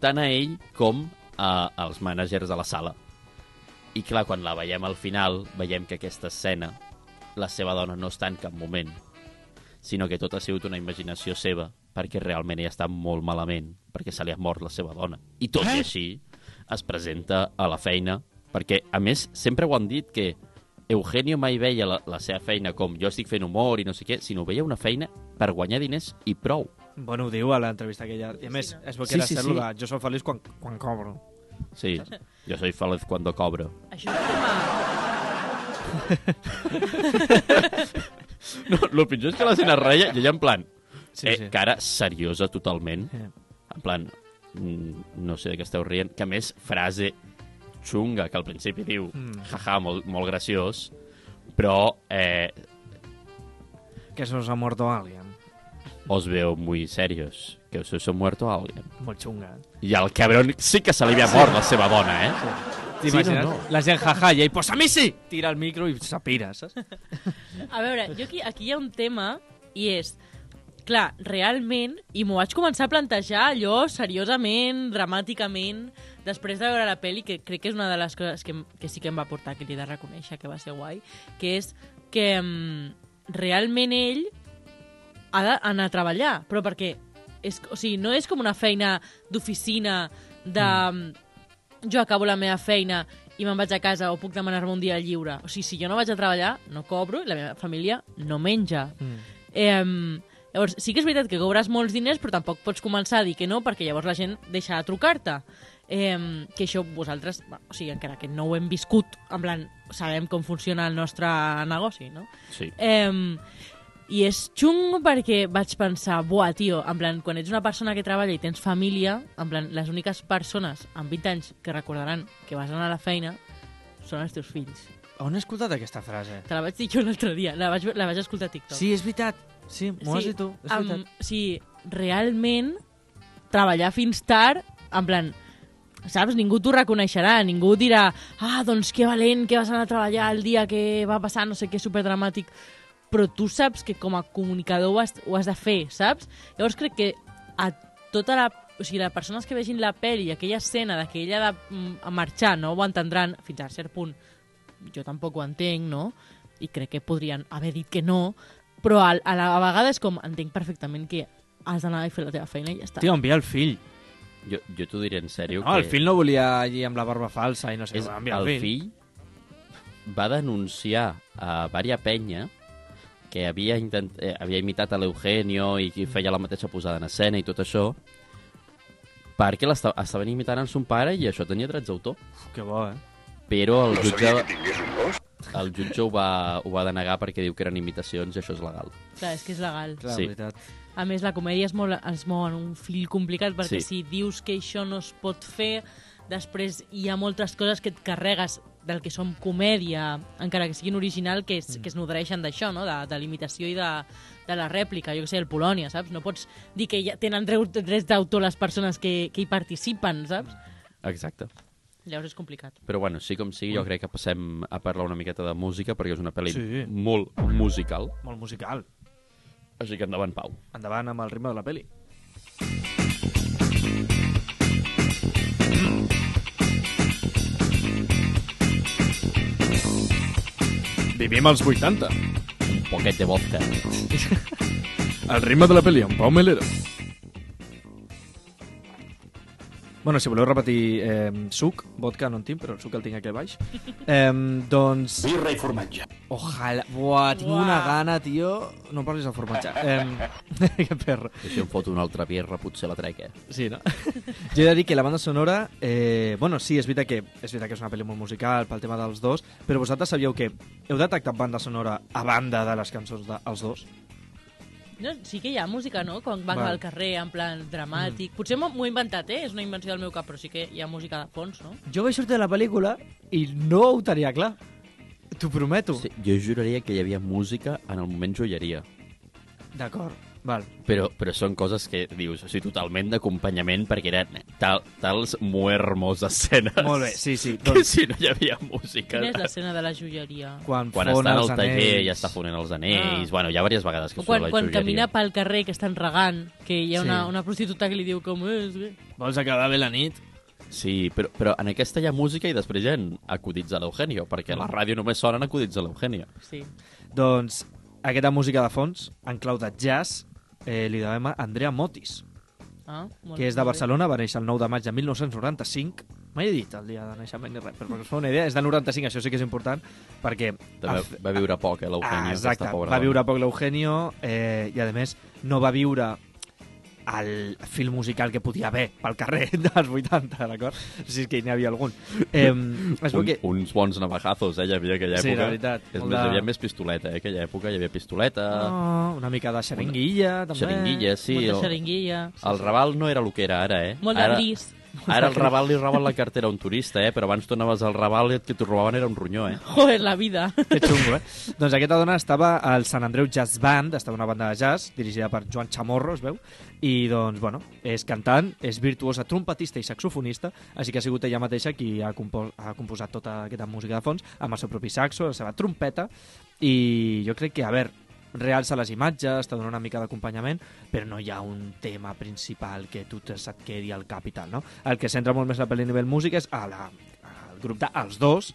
Speaker 1: tant a ell com a, als mànagers de la sala. I clar, quan la veiem al final, veiem que aquesta escena, la seva dona no està en cap moment, sinó que tot ha sigut una imaginació seva, perquè realment ella està molt malament, perquè se li ha mort la seva dona. I tot i així, es presenta a la feina, perquè, a més, sempre ho han dit que Eugenio mai veia la, la seva feina com jo estic fent humor i no sé què, sinó veia una feina per guanyar diners i prou.
Speaker 3: Bueno, ho diu a l'entrevista aquella. I a més, es veu que
Speaker 1: Sí,
Speaker 3: era
Speaker 1: sí,
Speaker 3: sí,
Speaker 1: sí.
Speaker 3: sí. de jo soc feliç quan, quan cobro.
Speaker 1: Sí, jo soy feliz cuando cobro.
Speaker 2: Això és com a...
Speaker 1: No, el pitjor és que la gent es reia i ella en plan... Sí,
Speaker 3: Sí,
Speaker 1: eh, sí.
Speaker 3: sí.
Speaker 1: Cara seriosa totalment.
Speaker 3: Eh.
Speaker 1: En plan, mm, no sé de què esteu rient. Que a més, frase xunga, que al principi diu, mm. jaja, molt, molt graciós, però eh,
Speaker 3: Que se us ha mort alguien.
Speaker 1: os veo muy serios, que os os ha muerto alguien.
Speaker 3: Molt xunga. eh?
Speaker 1: I al cabron sí que se li havia mort la seva dona, eh?
Speaker 3: T'imagines?
Speaker 1: no,
Speaker 3: no, no. La gent jaja i ell, pues a mi sí! Tira el micro i s'apira, saps?
Speaker 2: A veure, jo aquí, aquí hi ha un tema i és... Clar, realment, i m'ho vaig començar a plantejar allò seriosament, dramàticament, després de veure la pel·li, que crec que és una de les coses que, em- que sí que em va portar, que li he de reconèixer que va ser guai, que és que mm, realment ell ha d'anar a treballar, però perquè és, o sigui, no és com una feina d'oficina de mm. jo acabo la meva feina i me'n vaig a casa o puc demanar-me un dia lliure. O sigui, si jo no vaig a treballar, no cobro i la meva família no menja. Mm. Eh, llavors, sí que és veritat que cobres molts diners, però tampoc pots començar a dir que no, perquè llavors la gent deixa de trucar-te. Eh, que això vosaltres, va, o sigui, encara que no ho hem viscut, en plan, sabem com funciona el nostre negoci, no?
Speaker 1: Sí.
Speaker 2: Eh, I és xungo perquè vaig pensar, buah, tio, en plan, quan ets una persona que treballa i tens família, en plan, les úniques persones amb 20 anys que recordaran que vas anar a la feina són els teus fills.
Speaker 3: On he escoltat aquesta frase?
Speaker 2: Te la vaig dir jo l'altre dia, la vaig, la vaig escoltar a TikTok.
Speaker 3: Sí, és veritat. Sí, m'ho has dit tu. És
Speaker 2: amb-
Speaker 3: veritat.
Speaker 2: sí, realment, treballar fins tard, en plan, saps? Ningú t'ho reconeixerà, ningú dirà ah, doncs que valent que vas anar a treballar el dia que va passar no sé què superdramàtic. Però tu saps que com a comunicador ho has, ho has de fer, saps? Llavors crec que a tota la... O sigui, les persones que vegin la pel·li, aquella escena de que ella ha de mm, marxar, no ho entendran fins a cert punt. Jo tampoc ho entenc, no? I crec que podrien haver dit que no, però a, a la vegada és com, entenc perfectament que has d'anar i fer la teva feina i ja està.
Speaker 3: Tio, envia el fill.
Speaker 1: Jo, jo t'ho diré en sèrio.
Speaker 3: No,
Speaker 1: que...
Speaker 3: el fill no volia allí amb la barba falsa i no sé
Speaker 1: és
Speaker 3: què. va enviar
Speaker 1: el fill va denunciar a Varia Penya que havia, intent... eh, havia imitat a l'Eugenio i que feia la mateixa posada en escena i tot això perquè l'esta- estaven imitant en son pare i això tenia drets d'autor
Speaker 3: Uf, que bo, eh?
Speaker 1: però el jutge, el jutge ho, va, ho va denegar perquè diu que eren imitacions i això és legal
Speaker 2: Clar, és que és legal.
Speaker 3: Clar,
Speaker 1: Sí.
Speaker 3: sí. veritat.
Speaker 2: A més, la comèdia es mou, es mou en un fil complicat perquè
Speaker 1: Sí.
Speaker 2: sí. si dius que això no es pot fer, després hi ha moltes coses que et carregues del que som comèdia, encara que siguin original, que es, que es nodreixen d'això, no? de, de l'imitació i de, de la rèplica. Jo que sé, el Polònia, saps? No pots dir que ja tenen dreu- drets d'autor les persones que, que hi participen, saps?
Speaker 1: exacte
Speaker 2: Llavors és complicat.
Speaker 1: Però bueno, sí com sigui, jo crec que passem a parlar una miqueta de música, perquè és una pel·li
Speaker 3: Sí.
Speaker 1: molt musical.
Speaker 3: Molt musical.
Speaker 1: Així que endavant, Pau.
Speaker 3: Endavant amb el ritme de la peli. Vivim als 80.
Speaker 1: Un poquet de vodka.
Speaker 3: El ritme de la peli, amb Pau Melero. Bueno, si voleu repetir eh, suc, vodka no en tinc, però el suc el tinc aquí a baix. Eh, doncs...
Speaker 7: Birra i formatge.
Speaker 3: Ojalà. Buah, tinc
Speaker 2: Buah.
Speaker 3: una gana, tio. No em parlis de formatge. Eh, que perro.
Speaker 1: I si em foto una altra birra, potser la trec, eh?
Speaker 3: Sí, no? Jo he de dir que la banda sonora... Eh, bueno, sí, és veritat, que, és veritat que és una pel·li molt musical pel tema dels dos, però vosaltres sabíeu que heu detectat banda sonora a banda de les cançons dels dos?
Speaker 2: No, sí que hi ha música, no? Quan van
Speaker 3: Val.
Speaker 2: al carrer, en plan dramàtic. Mm. Potser m'ho m'ho he inventat, eh? És una invenció del meu cap, però sí que hi ha música de fons, no?
Speaker 3: Jo vaig sortir de la pel·lícula i no ho tenia clar. T'ho prometo.
Speaker 1: Sí, jo juraria que hi havia música en el moment joieria.
Speaker 3: D'acord. Val.
Speaker 1: Però, però són coses que dius, o sigui, totalment d'acompanyament, perquè eren tal, tals muermos escenes.
Speaker 3: Molt bé, sí, sí.
Speaker 1: Que
Speaker 3: Doncs,
Speaker 1: si no hi havia música...
Speaker 2: Quina és l'escena de la joieria?
Speaker 3: quan
Speaker 1: Quan
Speaker 3: fon
Speaker 1: està en el
Speaker 3: els
Speaker 1: taller
Speaker 3: anells.
Speaker 1: i està fonent els anells...
Speaker 2: Ah.
Speaker 1: Bueno, hi ha diverses vegades que
Speaker 2: O
Speaker 1: surt
Speaker 2: quan,
Speaker 1: la
Speaker 2: quan
Speaker 1: joieria.
Speaker 2: camina pel carrer que estan regant, que hi ha una,
Speaker 3: Sí.
Speaker 2: una prostituta que li diu com és... eh?"
Speaker 3: Vols acabar bé la nit?
Speaker 1: Sí, però, però en aquesta hi ha música i després hi ha acudits a l'Eugenio, perquè a la ràdio només sonen acudits a l'Eugenio.
Speaker 2: Sí.
Speaker 3: Doncs aquesta música de fons, en clau de jazz, eh, li devem a Andrea Motis,
Speaker 2: Ah, molt
Speaker 3: que és
Speaker 2: molt
Speaker 3: de Barcelona, va néixer el 9 de maig de 1995. Mai he dit el dia de naixement ni res, però per us fa una idea, és de 95, això sí que és important, perquè...
Speaker 1: També
Speaker 3: af-
Speaker 1: va viure poc, eh, l'Eugenio,
Speaker 3: Ah, exacte,
Speaker 1: aquesta pobra
Speaker 3: va
Speaker 1: dona.
Speaker 3: viure poc l'Eugenio eh, i, a més, no va viure el fil musical que podia haver pel carrer dels 80, d'acord? Si és que n'hi havia algun. Eh, es veu
Speaker 1: Un,
Speaker 3: que...
Speaker 1: Uns bons navajazos, eh, hi havia aquella
Speaker 3: Sí,
Speaker 1: època.
Speaker 3: la veritat,
Speaker 1: És
Speaker 3: molt
Speaker 1: més,
Speaker 3: de-
Speaker 1: hi havia més pistoleta, eh, aquella època. Hi havia pistoleta...
Speaker 3: Oh, una mica de xeringuilla, també.
Speaker 1: Xeringuilla, sí.
Speaker 2: Molta
Speaker 1: El,
Speaker 2: xeringuilla.
Speaker 3: Ah,
Speaker 1: el Raval no era el que era ara, eh?
Speaker 2: Molt de
Speaker 1: ara,
Speaker 2: gris.
Speaker 1: Ara el Raval li roben la cartera a un turista, eh? Però abans tu anaves al Raval i el que t'ho robaven era un ronyó, eh?
Speaker 2: Joder, la vida.
Speaker 3: Que xungo, eh? doncs aquesta dona estava al Sant Andreu Jazz Band, estava una banda de jazz dirigida per Joan Chamorro, es veu, i doncs, bueno, és cantant, és virtuosa trompetista i saxofonista, així que ha sigut ella mateixa qui ha, compo ha composat tota aquesta música de fons, amb el seu propi saxo, la seva trompeta, i jo crec que, a veure, realça les imatges, te dona una mica d'acompanyament, però no hi ha un tema principal que tu te se't quedi al capital, no? El que centra molt més la pel·li a nivell músic és a la, al grup de Els Dos,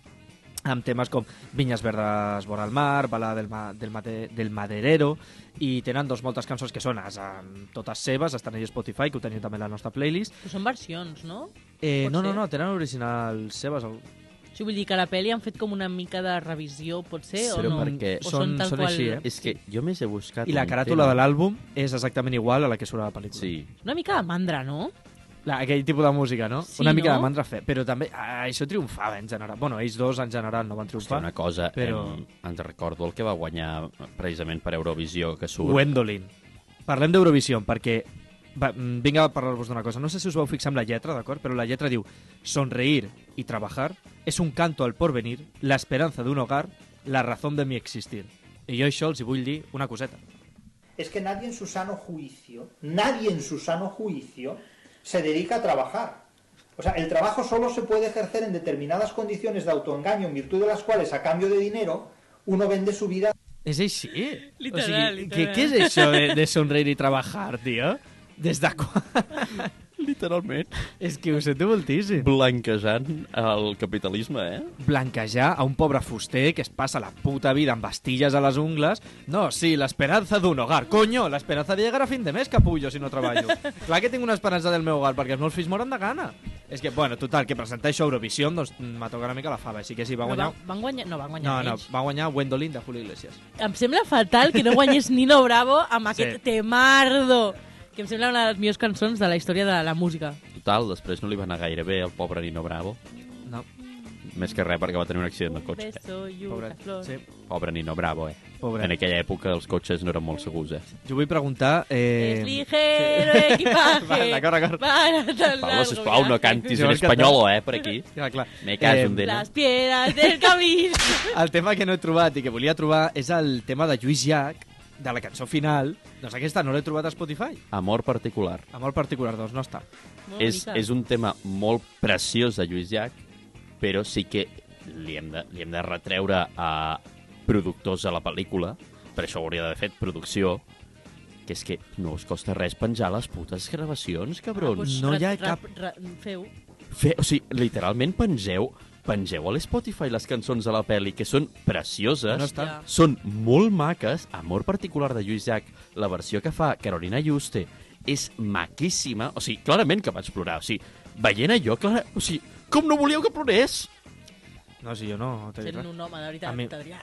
Speaker 3: amb temes com Vinyes verdes vora el mar, Balada del, ma, del, mate, del maderero, i tenen doncs, moltes cançons que sones, amb totes seves, estan a Spotify, que ho teniu també a la nostra playlist.
Speaker 2: Però són versions, no?
Speaker 3: Eh,
Speaker 2: Pot
Speaker 3: no, no,
Speaker 2: ser.
Speaker 3: no, tenen originals seves. el-
Speaker 2: O sigui, vull dir que a la pel·li han fet com una mica de revisió, potser,
Speaker 1: Però
Speaker 2: o no?
Speaker 1: perquè
Speaker 2: o són,
Speaker 3: són-
Speaker 2: tal
Speaker 3: són
Speaker 2: qual...
Speaker 3: així, eh?
Speaker 1: És que jo més he buscat...
Speaker 3: I la
Speaker 1: un
Speaker 3: caràtula de
Speaker 1: tema.
Speaker 3: l'àlbum és exactament igual a la que surt a la pel·lícula.
Speaker 1: Sí.
Speaker 2: Una mica de mandra, no?
Speaker 3: La, aquell tipus de música, no?
Speaker 2: Sí,
Speaker 3: una mica
Speaker 2: no?
Speaker 3: de mandra fer, però també ah, això triomfava en general. Bueno, ells dos en general no van
Speaker 1: Hòstia,
Speaker 3: triomfar.
Speaker 1: una cosa, però...
Speaker 3: Però-
Speaker 1: em, ens recordo el que va guanyar precisament per Eurovisió, que surt...
Speaker 3: Gwendolyn. Parlem d'Eurovisió, perquè... Va, mm, vinc a parlar-vos d'una cosa. No sé si us vau fixar en la lletra, d'acord? Però la lletra diu Sonreír y trabajar es un canto al porvenir, la esperanza de un hogar, la razón de mi existir. I jo això els hi vull dir una coseta.
Speaker 8: es que nadie en su sano juicio, nadie en su sano juicio se dedica a trabajar. O sea, el trabajo solo se puede ejercer en determinadas condiciones de autoengaño, en virtud de las cuales, a cambio de dinero, uno vende su vida.
Speaker 3: És així?
Speaker 2: Literal, literal.
Speaker 3: Que, què és això de, de sonreír i trabajar, tio? Des de quan?
Speaker 1: Literalment.
Speaker 3: és que ho sento moltíssim.
Speaker 1: Blanquejant el capitalisme, eh?
Speaker 3: blanquejar a un pobre fuster que es passa la puta vida amb bastilles a les ungles. No, sí, l'esperança d'un hogar. Coño, l'esperança de llegar a fin de mes, capullo, si no treballo. Clar que tinc una esperança del meu hogar, perquè els meus fills moren de gana. És que, bueno, total, que presentar això a Eurovisió, doncs m'ha tocat una mica la fava, així que sí, va
Speaker 2: No,
Speaker 3: guanyar...
Speaker 2: van, van guanyar... No, van guanyar
Speaker 3: No, no,
Speaker 2: ells.
Speaker 3: va guanyar Wendolin de Julio Iglesias.
Speaker 2: Em sembla fatal que no guanyés Nino Bravo amb
Speaker 3: Sí.
Speaker 2: aquest temardo, que em sembla una de les millors cançons de la història de la música.
Speaker 1: Total, després no li va anar gaire bé al pobre Nino Bravo.
Speaker 3: No,
Speaker 1: Més que res perquè va tenir un accident de
Speaker 2: Un
Speaker 1: cotxe.
Speaker 2: beso y una
Speaker 3: pobret.
Speaker 2: flor.
Speaker 3: Sí,
Speaker 1: Pobre Nino Bravo, eh?
Speaker 3: pobret.
Speaker 1: En aquella època els cotxes no eren molt segurs, eh?
Speaker 3: Jo vull preguntar...
Speaker 2: Es
Speaker 3: Eh...
Speaker 2: ligero equipaje.
Speaker 3: Va, d'acord, d'acord.
Speaker 2: Para tan
Speaker 1: Pablo,
Speaker 2: largo
Speaker 1: sisplau, no
Speaker 2: viaje.
Speaker 1: cantis
Speaker 3: Jo
Speaker 1: en
Speaker 3: el català.
Speaker 1: espanyol, eh, per aquí.
Speaker 3: Ja, clar. eh,
Speaker 1: Me caso en Déu.
Speaker 2: Las piedras del camino.
Speaker 3: El tema que no he trobat i que volia trobar és el tema de Lluís Llach, de la cançó final. Doncs aquesta no l'he trobat a Spotify.
Speaker 1: Amor particular.
Speaker 3: Amor particular, doncs no està.
Speaker 2: Molt
Speaker 1: És,
Speaker 2: bonica.
Speaker 1: és un tema molt preciós de Lluís Llach però sí que li hem de, li hem de retreure a productors de la pel·lícula, per això ho hauria d'haver fet producció, que és que no us costa res penjar les putes gravacions, cabrons.
Speaker 3: No hi ha
Speaker 2: Ra- ra-
Speaker 3: cap-
Speaker 2: ra- Feu.
Speaker 1: Fe, o sigui, literalment pengeu pengeu a l'Spotify les cançons de la pel·li, que són precioses,
Speaker 3: No està.
Speaker 1: són molt maques, amor particular de Lluís Llach, la versió que fa Carolina Juste és maquíssima, o sigui, clarament que vaig plorar, o sigui, veient allò, clara, o sigui, com no volíeu que plorés?
Speaker 3: No, si jo no, no t'he dit
Speaker 2: Sent
Speaker 3: res.
Speaker 2: un home, de veritat,
Speaker 3: A mi-
Speaker 2: Adrià.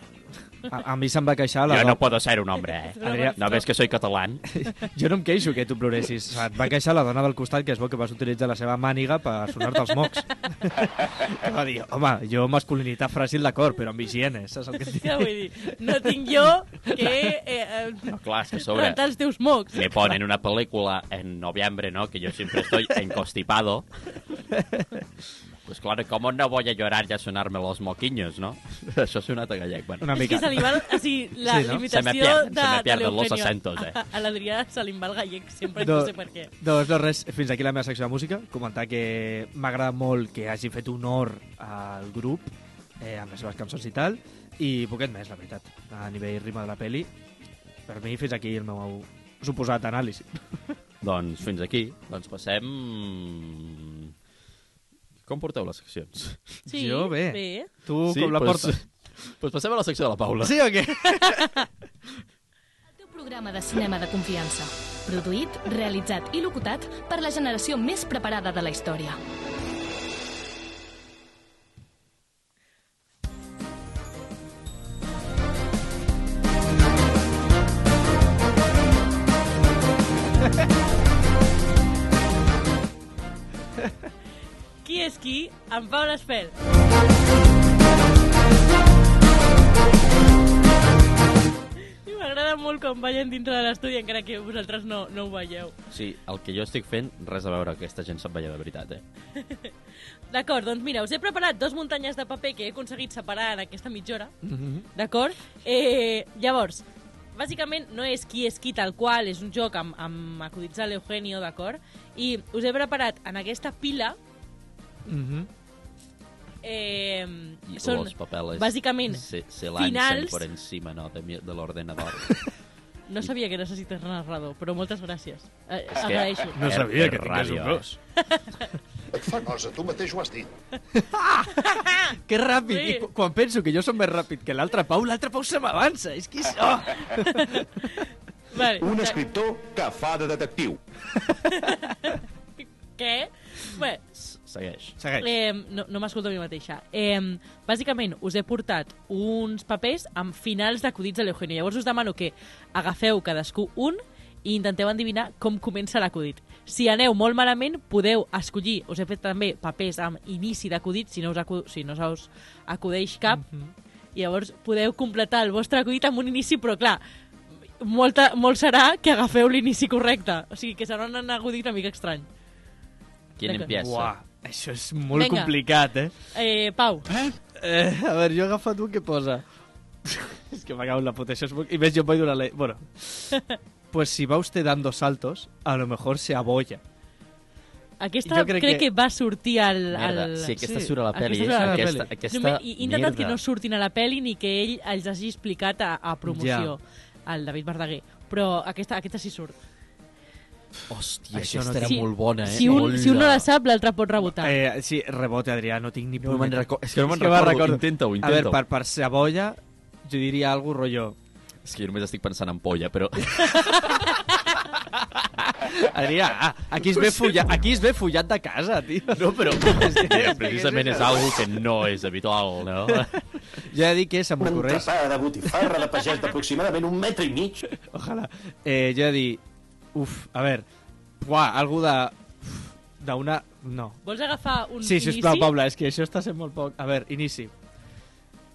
Speaker 3: A, a mi se'm va queixar la
Speaker 1: Jo
Speaker 3: do-
Speaker 1: no puedo ser un hombre, eh?
Speaker 2: Adrià,
Speaker 1: No ves que soy catalán?
Speaker 3: Jo no em queixo que tu ploressis. Et va queixar la dona del costat que es veu que vas utilitzar la seva màniga per sonar-te els mocs. Que va dir, home, jo masculinitat fràgil d'acord, però amb higiene, saps el que et dic?
Speaker 2: Què vull dir? No tinc jo que eh, eh,
Speaker 1: No, clar, és que a sobre
Speaker 2: rentar els teus mocs.
Speaker 1: le ponen una película en noviembre, ¿no? Que yo siempre estoy encostipado. Pues claro, ¿cómo no voy a llorar y a sonarme los moquiños, no? Això ha sonat a gallec, bueno.
Speaker 3: Una
Speaker 2: És que
Speaker 3: mica.
Speaker 2: se li va... O sigui, la
Speaker 3: Sí, no?
Speaker 2: limitació
Speaker 1: Se me pierde-
Speaker 2: de...
Speaker 1: se me
Speaker 2: de
Speaker 1: pierden los
Speaker 2: l'Eugenio.
Speaker 1: acentos, eh.
Speaker 2: A, a l'Adrià se li va el gallec sempre, no,
Speaker 3: Do-
Speaker 2: sé per què.
Speaker 3: Doncs no, res, fins aquí la meva secció de música. Comentar que m'agrada molt que hagi fet honor al grup eh, amb les seves cançons i tal, i poquet més, la veritat, a nivell ritme de la peli. Per mi, fins aquí el meu suposat anàlisi.
Speaker 1: Doncs fins aquí. Doncs passem... Com porteu les seccions?
Speaker 2: Sí,
Speaker 3: Jo bé.
Speaker 2: bé.
Speaker 3: Tu com la
Speaker 1: doncs-
Speaker 3: portes?
Speaker 1: Doncs passem a la secció de la Paula.
Speaker 3: Sí o què?
Speaker 5: El teu programa de cinema de confiança. Produït, realitzat i locutat per la generació més preparada de la història.
Speaker 2: Qui és qui? En Pau Espel. I m'agrada molt com ballen dintre de l'estudi, encara que vosaltres no, no ho veieu.
Speaker 1: Sí, el que jo estic fent, res a veure que aquesta gent sap ballar de veritat, eh?
Speaker 2: D'acord, doncs mira, us he preparat dos muntanyes de paper que he aconseguit separar en aquesta mitja hora. D'acord? Eh, llavors, bàsicament no és qui és qui tal qual, és un joc amb, amb acudits de l'Eugenio, d'acord? I us he preparat en aquesta pila... Eh,
Speaker 1: I
Speaker 2: són,
Speaker 1: los papeles
Speaker 2: bàsicament,
Speaker 1: se, se lanzan
Speaker 2: finals-
Speaker 1: por encima, no, de, mi- de l'ordenador.
Speaker 2: no sabia que necessites narrador, però moltes gràcies. Eh,
Speaker 1: que-
Speaker 2: agraeixo.
Speaker 1: No sabia que tingués un gos.
Speaker 9: Et fa nosa, tu mateix ho has dit.
Speaker 3: Que ràpid!
Speaker 2: Sí.
Speaker 3: I cu- quan penso que jo som més ràpid que l'altre Pau, l'altre Pau se m'avança. És que és... Oh!
Speaker 2: Vale,
Speaker 9: Un
Speaker 2: de-
Speaker 9: escriptor que fa de detectiu.
Speaker 2: Què? Bé,
Speaker 1: Segueix.
Speaker 3: Segueix.
Speaker 2: Eh, no no m'escolto a mi mateixa. Eh, bàsicament, us he portat uns papers amb finals d'acudits de l'Eugenio. Llavors us demano que agafeu cadascú un i intenteu endevinar com comença l'acudit. Si aneu molt malament, podeu escollir... Us he fet també papers amb inici d'acudit, si, no us acu- si no se us acudeix cap. Mm -hmm. Llavors podeu completar el vostre acudit amb un inici, però clar, molta, molt serà que agafeu l'inici correcte. O sigui, que serà un acudit una mica estrany.
Speaker 1: Qui
Speaker 2: D'acord.
Speaker 1: empieza?
Speaker 3: Uah, això és molt
Speaker 2: Eh, Vinga.
Speaker 3: complicat, eh?
Speaker 2: Eh, Pau,
Speaker 3: eh? A veure, jo he agafat un que posa... és que m'acabo la puta, això és molt... I més, jo em vaig donar la... Bueno. pues si va usted dando saltos, a lo mejor se abolla.
Speaker 2: Aquesta
Speaker 3: Jo
Speaker 2: crec,
Speaker 3: crec
Speaker 2: crec que...
Speaker 3: que-
Speaker 2: va sortir al...
Speaker 1: Merda,
Speaker 2: al...
Speaker 1: sí, aquesta
Speaker 3: sí,
Speaker 1: surt a la
Speaker 3: aquesta
Speaker 1: pel·li.
Speaker 3: surt a la
Speaker 1: Aquesta,
Speaker 3: peli.
Speaker 1: aquesta,
Speaker 2: Només- i- He intentat
Speaker 1: merda.
Speaker 2: que no surtin a la pel·li ni que ell els hagi explicat a, a promoció, al David Verdaguer. Però aquesta, aquesta sí surt.
Speaker 1: Hòstia,
Speaker 3: Això no
Speaker 1: aquesta era
Speaker 2: té-
Speaker 1: molt bona, eh?
Speaker 2: si, un,
Speaker 1: Hola.
Speaker 2: si un no la sap, l'altre pot rebotar. Eh,
Speaker 3: Eh, sí, rebote, Adrià, no tinc ni
Speaker 1: No me'n
Speaker 3: punyeta.
Speaker 1: recordo. És que no me'n
Speaker 3: És que me'n
Speaker 1: recordo.
Speaker 3: recordo.
Speaker 1: Intenta-ho,
Speaker 3: A veure,
Speaker 1: intenta-ho.
Speaker 3: per, per se abolla, jo diria algo rotllo...
Speaker 1: És que jo només estic pensant en polla, però...
Speaker 3: Adrià, ah, aquí es ve follat, aquí es ve follat de casa, tio.
Speaker 1: No, però... Mira, precisament és algo que no és habitual, no?
Speaker 3: Jo he de dir que se m'ocorreix...
Speaker 9: de botifarra de pagès d'aproximadament un metre i mig.
Speaker 3: Ojalà. Eh, jo he de dir... Uf, a veure... Buah, algú de... uf, D'una... No.
Speaker 2: Vols agafar un
Speaker 3: Sí,
Speaker 2: inici?
Speaker 3: sisplau, Paula, és que això està sent molt poc. A veure, inici.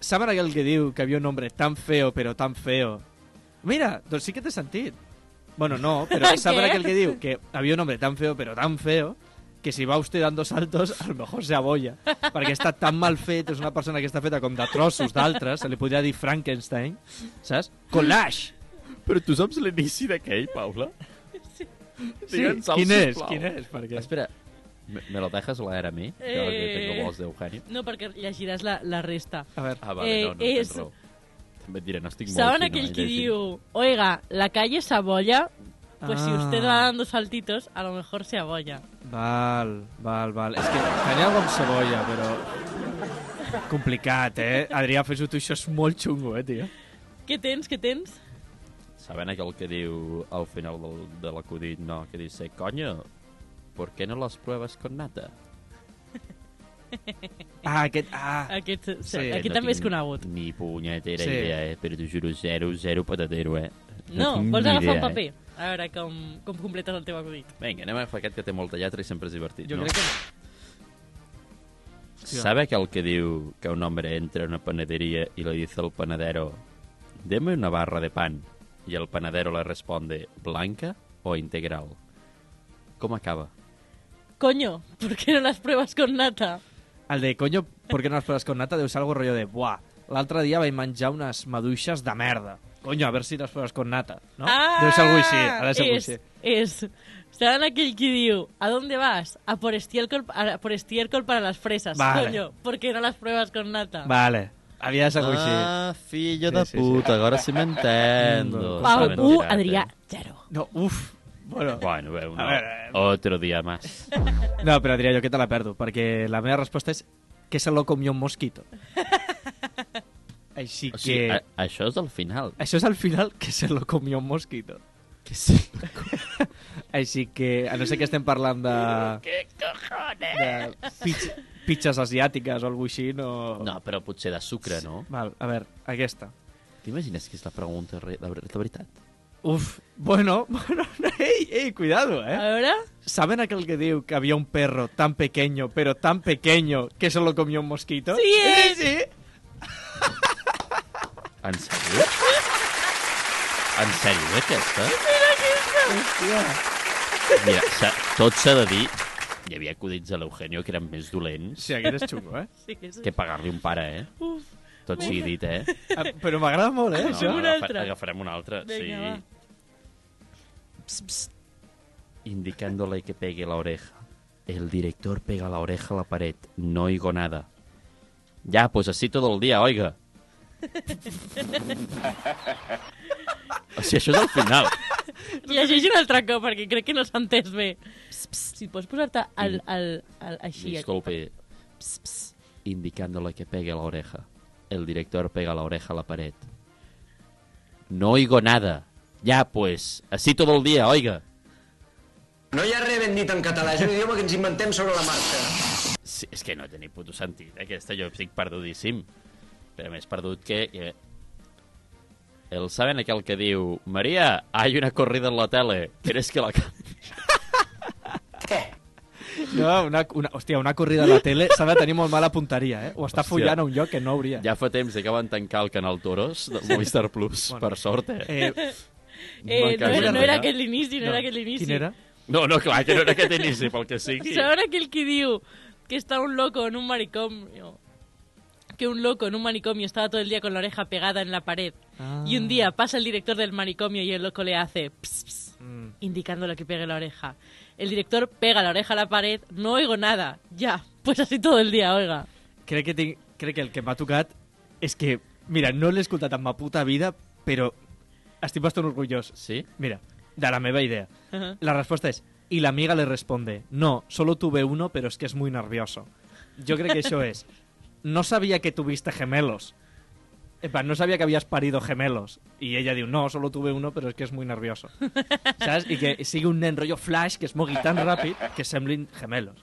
Speaker 3: Saben aquell que diu que havia un hombre tan feo, però tan feo? Mira, doncs sí que té sentit. Bueno, no, però
Speaker 2: Què?
Speaker 3: saben aquell que diu que havia un hombre tan feo, però tan feo, que si va usted dando saltos, a lo mejor se abolla. Perquè està tan mal fet, és una persona que està feta com de trossos d'altres, se li podria dir Frankenstein, saps? Collage!
Speaker 1: però tu saps l'inici d'aquell, Paula? Sí.
Speaker 3: Quin és? Quin és? Perquè...
Speaker 1: Espera, ¿Me, me lo dejas leer a mí? Yo
Speaker 2: Eh.
Speaker 1: que tengo voz de Eugenio.
Speaker 2: No, perquè llegiràs la, la resta.
Speaker 1: A ver. Ah, vale, no, no,
Speaker 2: Eh,
Speaker 1: tens
Speaker 2: és-
Speaker 1: raó. També et diré, no estic
Speaker 2: ¿Saben
Speaker 1: molt
Speaker 2: aquel
Speaker 1: fino,
Speaker 2: que
Speaker 1: eh, llegint.
Speaker 2: diu, oiga, la calle se abolla? Pues si usted
Speaker 3: Ah.
Speaker 2: va dando saltitos, a lo mejor se abolla.
Speaker 3: Val, val, val. És que tenia algo amb cebolla, però... Complicat, eh? Adrià, fes-ho tu, això és molt xungo, eh, tio?
Speaker 2: Què tens, què tens?
Speaker 1: Saben aquell que diu al final del, de l'acudit, no, que dice, coño, ¿por qué no las pruebas con nata?
Speaker 3: Ah, aquest... Ah.
Speaker 2: Aquest, sí,
Speaker 1: Eh,
Speaker 2: aquest
Speaker 1: no
Speaker 2: també és
Speaker 1: tinc
Speaker 2: conegut.
Speaker 1: Ni punyetera
Speaker 3: Sí.
Speaker 1: sí. idea, eh? Però t'ho juro, zero, zero patatero, eh?
Speaker 2: No,
Speaker 1: tinc
Speaker 2: vols
Speaker 1: ni
Speaker 2: agafar
Speaker 1: idea,
Speaker 2: un
Speaker 3: eh.
Speaker 2: paper? A veure com, com completes el teu acudit.
Speaker 1: Eh? Vinga, anem a agafar aquest que té molta lletra i sempre és divertit.
Speaker 2: Jo
Speaker 1: no?
Speaker 2: crec
Speaker 1: ¿Sabe aquell que diu que un hombre entra a una panadería y le dice al panadero, deme una barra de pan? Y el panadero le responde, ¿blanca o integral? Com acaba?
Speaker 2: Coño, ¿por qué no las pruebas con nata?
Speaker 3: El de coño, ¿por qué no has pruebas con nata? Deu ser algo rollo de, buah, l'altre dia vaig menjar unes maduixes de merda. Coño, a ver si les pruebes con nata, no? deu ser algo així, ha de ser algo
Speaker 2: Ah! és,
Speaker 3: així.
Speaker 2: Ah, és, saben aquell que diu, ¿a dónde vas? A por estiércol, a por estiércol para las fresas,
Speaker 3: Vale.
Speaker 2: coño, ¿por qué no las pruebas con nata?
Speaker 3: Vale, havia de ser algo així.
Speaker 1: Ah, fillo de puta, ahora sí me entiendo.
Speaker 2: Pau,
Speaker 1: Saben
Speaker 2: u,
Speaker 1: tirar, eh?
Speaker 2: Adrià, zero.
Speaker 3: No, uf. Bueno,
Speaker 1: Bueno, bé, un,
Speaker 3: A veure,
Speaker 1: otro día más.
Speaker 3: No, però Adrià, jo que te la perdo, perquè la meva resposta és que se lo comió un mosquito. Així que...
Speaker 1: O sigui, a, això és el final.
Speaker 3: Això és al final que se lo comió un mosquito.
Speaker 1: Que sí.
Speaker 3: Així que, a no ser que estem parlant de... Que cojones! De pitx, pitxes asiàtiques o alguna així, no...
Speaker 1: No, però potser de sucre, no?
Speaker 3: Val, a veure, aquesta.
Speaker 1: T'imagines que és la pregunta re- de, ver- de veritat?
Speaker 3: Uf, bueno, bueno, ei, ei, cuidado, eh?
Speaker 2: A veure,
Speaker 3: ¿Saben aquel que diu que había un perro tan pequeño, pero tan pequeño, que se lo comió un mosquito?
Speaker 2: Sí, eh?
Speaker 3: Sí, sí.
Speaker 1: En sèrio? En sèrio, eh, aquesta? Mira, s'ha- tot s'ha de dir... Hi havia acudits a l'Eugenio que eren més dolents
Speaker 3: Sí, aquest és xungo, eh?
Speaker 2: sí que és...
Speaker 1: que pagar-li un pare, eh?
Speaker 2: Uf,
Speaker 1: Tot sigui dit, eh?
Speaker 3: Ah, Però m'agrada molt, eh, això?
Speaker 2: un
Speaker 1: agafa-
Speaker 2: altre.
Speaker 1: Agafarem un altre,
Speaker 2: Vinga, va.
Speaker 1: sí. Indicándole que pegue la oreja. El director pega la oreja a la pared. No oigo nada. Ya, pues así todo el día, oiga. O sigui, això és el final.
Speaker 2: Llegeix un altre cop, perquè crec que no s'ha entès bé. Psst, psst, si pots posar-te al, al, al, així.
Speaker 1: Disculpe. Ps, ps, indicándole que pegue la oreja. El director pega la oreja a la pared. No oigo nada. Ya, pues, así todo el día, oiga.
Speaker 10: No hi ha res ben dit en català, és un idioma que ens inventem sobre la marxa.
Speaker 1: Sí, és que no té ni puto sentit, aquesta. Jo estic perdudíssim. Però més perdut que... que... El saben aquell que diu Maria, hay una corrida en la tele. ¿Quieres que la... ca-"
Speaker 3: No, una, una, hòstia, una corrida a la tele s'ha de tenir molt mala punteria, eh? O
Speaker 1: Hòstia.
Speaker 3: està follant a un lloc que no hauria.
Speaker 1: Ja fa temps que acaben de tancar el canal Toros de Movistar Plus,
Speaker 3: Bueno.
Speaker 1: bueno. per sort, eh?
Speaker 3: Eh,
Speaker 2: Eh, no,
Speaker 1: M'encanta.
Speaker 2: era, no era aquest l'inici, no,
Speaker 3: no,
Speaker 2: era aquest l'inici.
Speaker 3: Quin era?
Speaker 1: No, no, clar, que no era aquest inici, pel que sigui.
Speaker 2: Saben aquell que diu que está un loco en un manicomio. Que un loco en un manicomio estaba todo el día con la oreja pegada en la pared.
Speaker 3: Ah.
Speaker 2: Y un día pasa el director del manicomio y el loco le hace ps, ps,
Speaker 3: Mm.
Speaker 2: indicándole que pegue la oreja. El director pega la oreja a la pared, no oigo nada. Ya, pues así todo el día, oiga.
Speaker 3: Crec que, tinc, crec que el que m'ha tocat és que, mira, no l'he escoltat en ma puta vida, però estic bastant orgullós.
Speaker 1: Sí?
Speaker 3: Mira, de la meva idea.
Speaker 2: Ajá.
Speaker 3: La respuesta es, y la amiga le responde, no, solo tuve uno, pero es que es muy nervioso. Yo creo que eso es, no sabía que tuviste gemelos. En plan, no sabía que habías parido gemelos. Y ella dijo, no, solo tuve uno, pero es que es muy nervioso. ¿Sabes? Y que sigue un nen rollo flash que es mogui tan ràpid que semblin gemelos.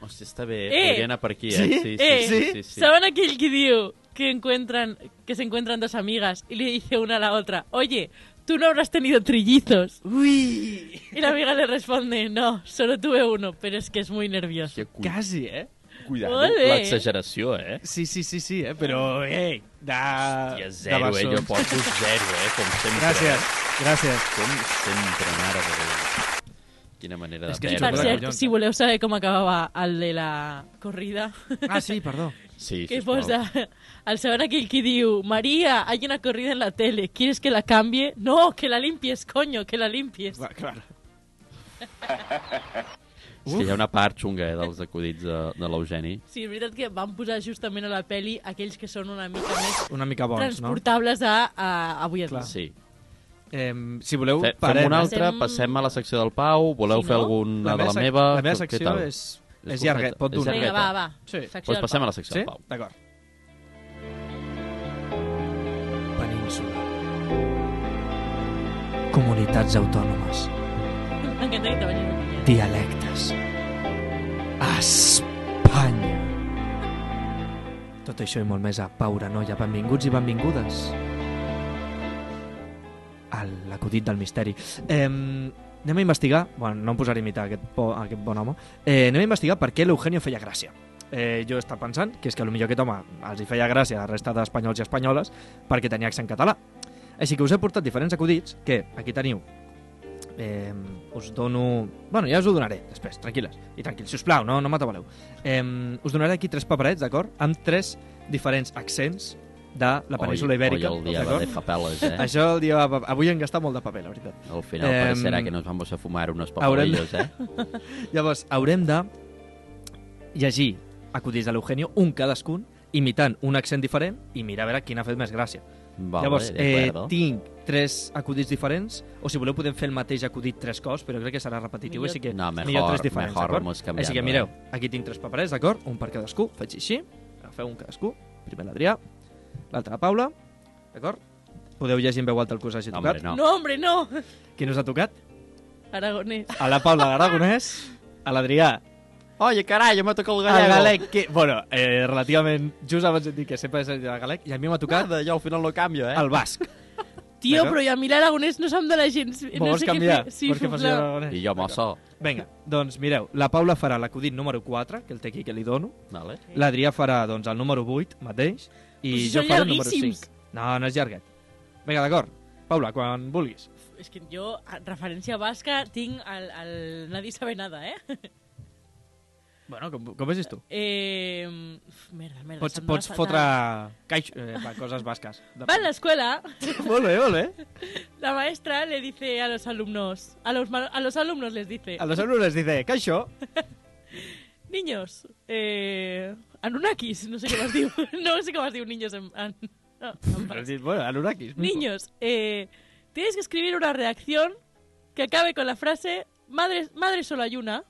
Speaker 1: Hòstia, està bé.
Speaker 2: Eh!
Speaker 1: Eh! Podria anar per aquí, eh? Sí, sí,
Speaker 2: eh,
Speaker 1: sí. sí, sí.
Speaker 2: ¿Saben aquel que diu que, encuentran, que se encuentran dos amigas y le dice una a la otra, oye, tú no habrás tenido trillizos?
Speaker 3: Uy,
Speaker 2: Y la amiga le responde, no, solo tuve uno, pero es que es muy nervioso.
Speaker 1: Que cu-
Speaker 3: Casi, eh?
Speaker 1: Cuidado,
Speaker 2: Molt bé.
Speaker 1: l'exageració, eh?
Speaker 3: Sí, sí, sí, sí, eh? Però, ei, Ah, de...
Speaker 1: Hòstia,
Speaker 3: Hòstia,
Speaker 1: zero, eh? Jo poso zero, eh? Com sempre.
Speaker 3: Gràcies, gràcies.
Speaker 1: Com sempre, mare de Déu. Quina manera de
Speaker 3: És que és
Speaker 2: Per
Speaker 3: Joder,
Speaker 2: cert,
Speaker 3: collons.
Speaker 2: si voleu saber com acabava el de la corrida,
Speaker 3: Ah, sí, perdó.
Speaker 1: Sí,
Speaker 2: que
Speaker 1: sisplau.
Speaker 2: posa el segon aquell que diu Maria, hay una corrida en la tele, ¿quieres que la cambie? No, que la limpies, coño, que la limpies.
Speaker 3: Va, claro.
Speaker 1: És que hi ha una part xunga eh, dels acudits de, de l'Eugeni.
Speaker 2: Sí, és veritat que van posar justament a la peli aquells que són una mica més
Speaker 3: Una mica bons,
Speaker 2: transportables a, a, avui en dia.
Speaker 1: Sí.
Speaker 3: Eh, si voleu,
Speaker 1: Fe,
Speaker 3: parem. eh?
Speaker 1: fem una altra, passem a la secció del Pau. Voleu
Speaker 2: Sí,
Speaker 1: fer
Speaker 2: no?
Speaker 1: alguna
Speaker 3: La
Speaker 1: de
Speaker 3: meva
Speaker 1: la
Speaker 3: sec-
Speaker 1: meva?
Speaker 3: la meva
Speaker 1: Què
Speaker 3: secció
Speaker 1: tal?
Speaker 3: és- és llarguet, pot
Speaker 1: és
Speaker 3: durar.
Speaker 2: Vinga,
Speaker 1: llargueta.
Speaker 2: va, va.
Speaker 3: Sí.
Speaker 2: Secció
Speaker 1: Doncs
Speaker 2: del
Speaker 1: passem
Speaker 2: Pau.
Speaker 1: a la secció
Speaker 3: Sí?
Speaker 1: del Pau.
Speaker 3: D'acord. Península. Comunitats autònomes.
Speaker 2: M'encanta que te vagis amb mi.
Speaker 3: Dialectes. Espanya. Tot això i molt més a Paura Noia. Benvinguts i benvingudes. A l'acudit del misteri. Eh, anem a investigar... Bueno, no em posaré a imitar aquest, bo, aquest bon home. Eh, anem a investigar per què l'Eugenio feia gràcia. Eh, jo he estat pensant que és que potser aquest home els hi feia gràcia a la resta d'espanyols i espanyoles perquè tenia accent català. Així que us he portat diferents acudits que aquí teniu eh, us dono... Bueno, ja us ho donaré després, tranquil·les. I tranquils, sisplau, no, no m'atabaleu. Eh, us donaré aquí tres paperets, d'acord? Amb tres diferents accents de la península
Speaker 1: Hoy-
Speaker 3: ibèrica.
Speaker 1: hoy el dia va
Speaker 3: d'acord?
Speaker 1: de papeles, eh?
Speaker 3: Això el dia... va- Avui hem gastat molt de paper, la veritat.
Speaker 1: Al final
Speaker 3: Em,
Speaker 1: parecerá que nos vamos a fumar unos
Speaker 3: haurem-
Speaker 1: papelillos, eh?
Speaker 3: Llavors, haurem de llegir acudits de l'Eugenio, un cadascun, imitant un accent diferent i mirar a veure quin ha fet més gràcia.
Speaker 1: Vale,
Speaker 3: Llavors,
Speaker 1: de
Speaker 3: eh,
Speaker 1: acuerdo.
Speaker 3: tinc tres acudits diferents, o si voleu podem fer el mateix acudit tres cops, però crec que serà repetitiu,
Speaker 1: Millor-
Speaker 3: així que
Speaker 1: No, mejor-
Speaker 3: millor tres diferents,
Speaker 1: mejor
Speaker 3: d'acord?
Speaker 1: vamos eh. cambiando,
Speaker 3: Així que mireu, aquí tinc tres paperets, d'acord? Un per cadascú, faig així, agafeu un cadascú, primer l'Adrià, l'altre la Paula, d'acord? Podeu llegir en veu alta el que us hagi tocat.
Speaker 2: No, hombre, no!
Speaker 3: Quin us ha tocat?
Speaker 2: Aragonès.
Speaker 3: A la Paula Aragonès, a l'Adrià
Speaker 1: Oye, caray, me tocó el
Speaker 3: el
Speaker 1: gallego.
Speaker 3: galec, que, bueno, eh, relativament just abans de dir que sempre és el galec, i a mi m'ha tocat...
Speaker 1: Nada, jo al final no canvio, eh?
Speaker 3: El basc.
Speaker 2: Tio,
Speaker 3: Bueno.
Speaker 2: però i a mi l'aragonès no se'm dona gens... no
Speaker 3: Vols
Speaker 2: sé
Speaker 3: canviar?
Speaker 2: Què fer. Sí,
Speaker 3: Vols que
Speaker 2: sisplau.
Speaker 3: faci l'aragonès?
Speaker 1: I jo, mosso.
Speaker 3: Vinga, doncs mireu, la Paula farà l'acudit número 4, que el té aquí que li dono.
Speaker 1: Vale.
Speaker 3: L'Adrià farà doncs, el número 8 mateix. I
Speaker 2: Però si
Speaker 3: jo
Speaker 2: són
Speaker 3: faré el número
Speaker 2: llarguíssims.
Speaker 3: 5. No, no és llarguet. Vinga, d'acord. Paula, quan vulguis.
Speaker 2: És que jo, en referència basca, tinc el, el Nadie sabe nada, eh?
Speaker 3: Bueno, com, com vegis tu?
Speaker 2: eh uf, merda, merda.
Speaker 3: Pots,
Speaker 2: se'm dona
Speaker 3: pots
Speaker 2: fatal.
Speaker 3: fotre caix, eh, va, coses basques.
Speaker 2: Va a la escuela,
Speaker 3: molt bé, molt bé.
Speaker 2: la maestra le dice a los alumnos, a los, ma- a los alumnos les dice,
Speaker 3: A los alumnos les dice, caixó,
Speaker 2: niños, eh, Anunnakis, no sé què vas dir, no sé què vas dir, niños en, en, no, en
Speaker 3: Els dic, bueno, Anunnakis. mismo.
Speaker 2: Niños, eh, tienes que escribir una reacción que acabe con la frase madre, madre solo hay una.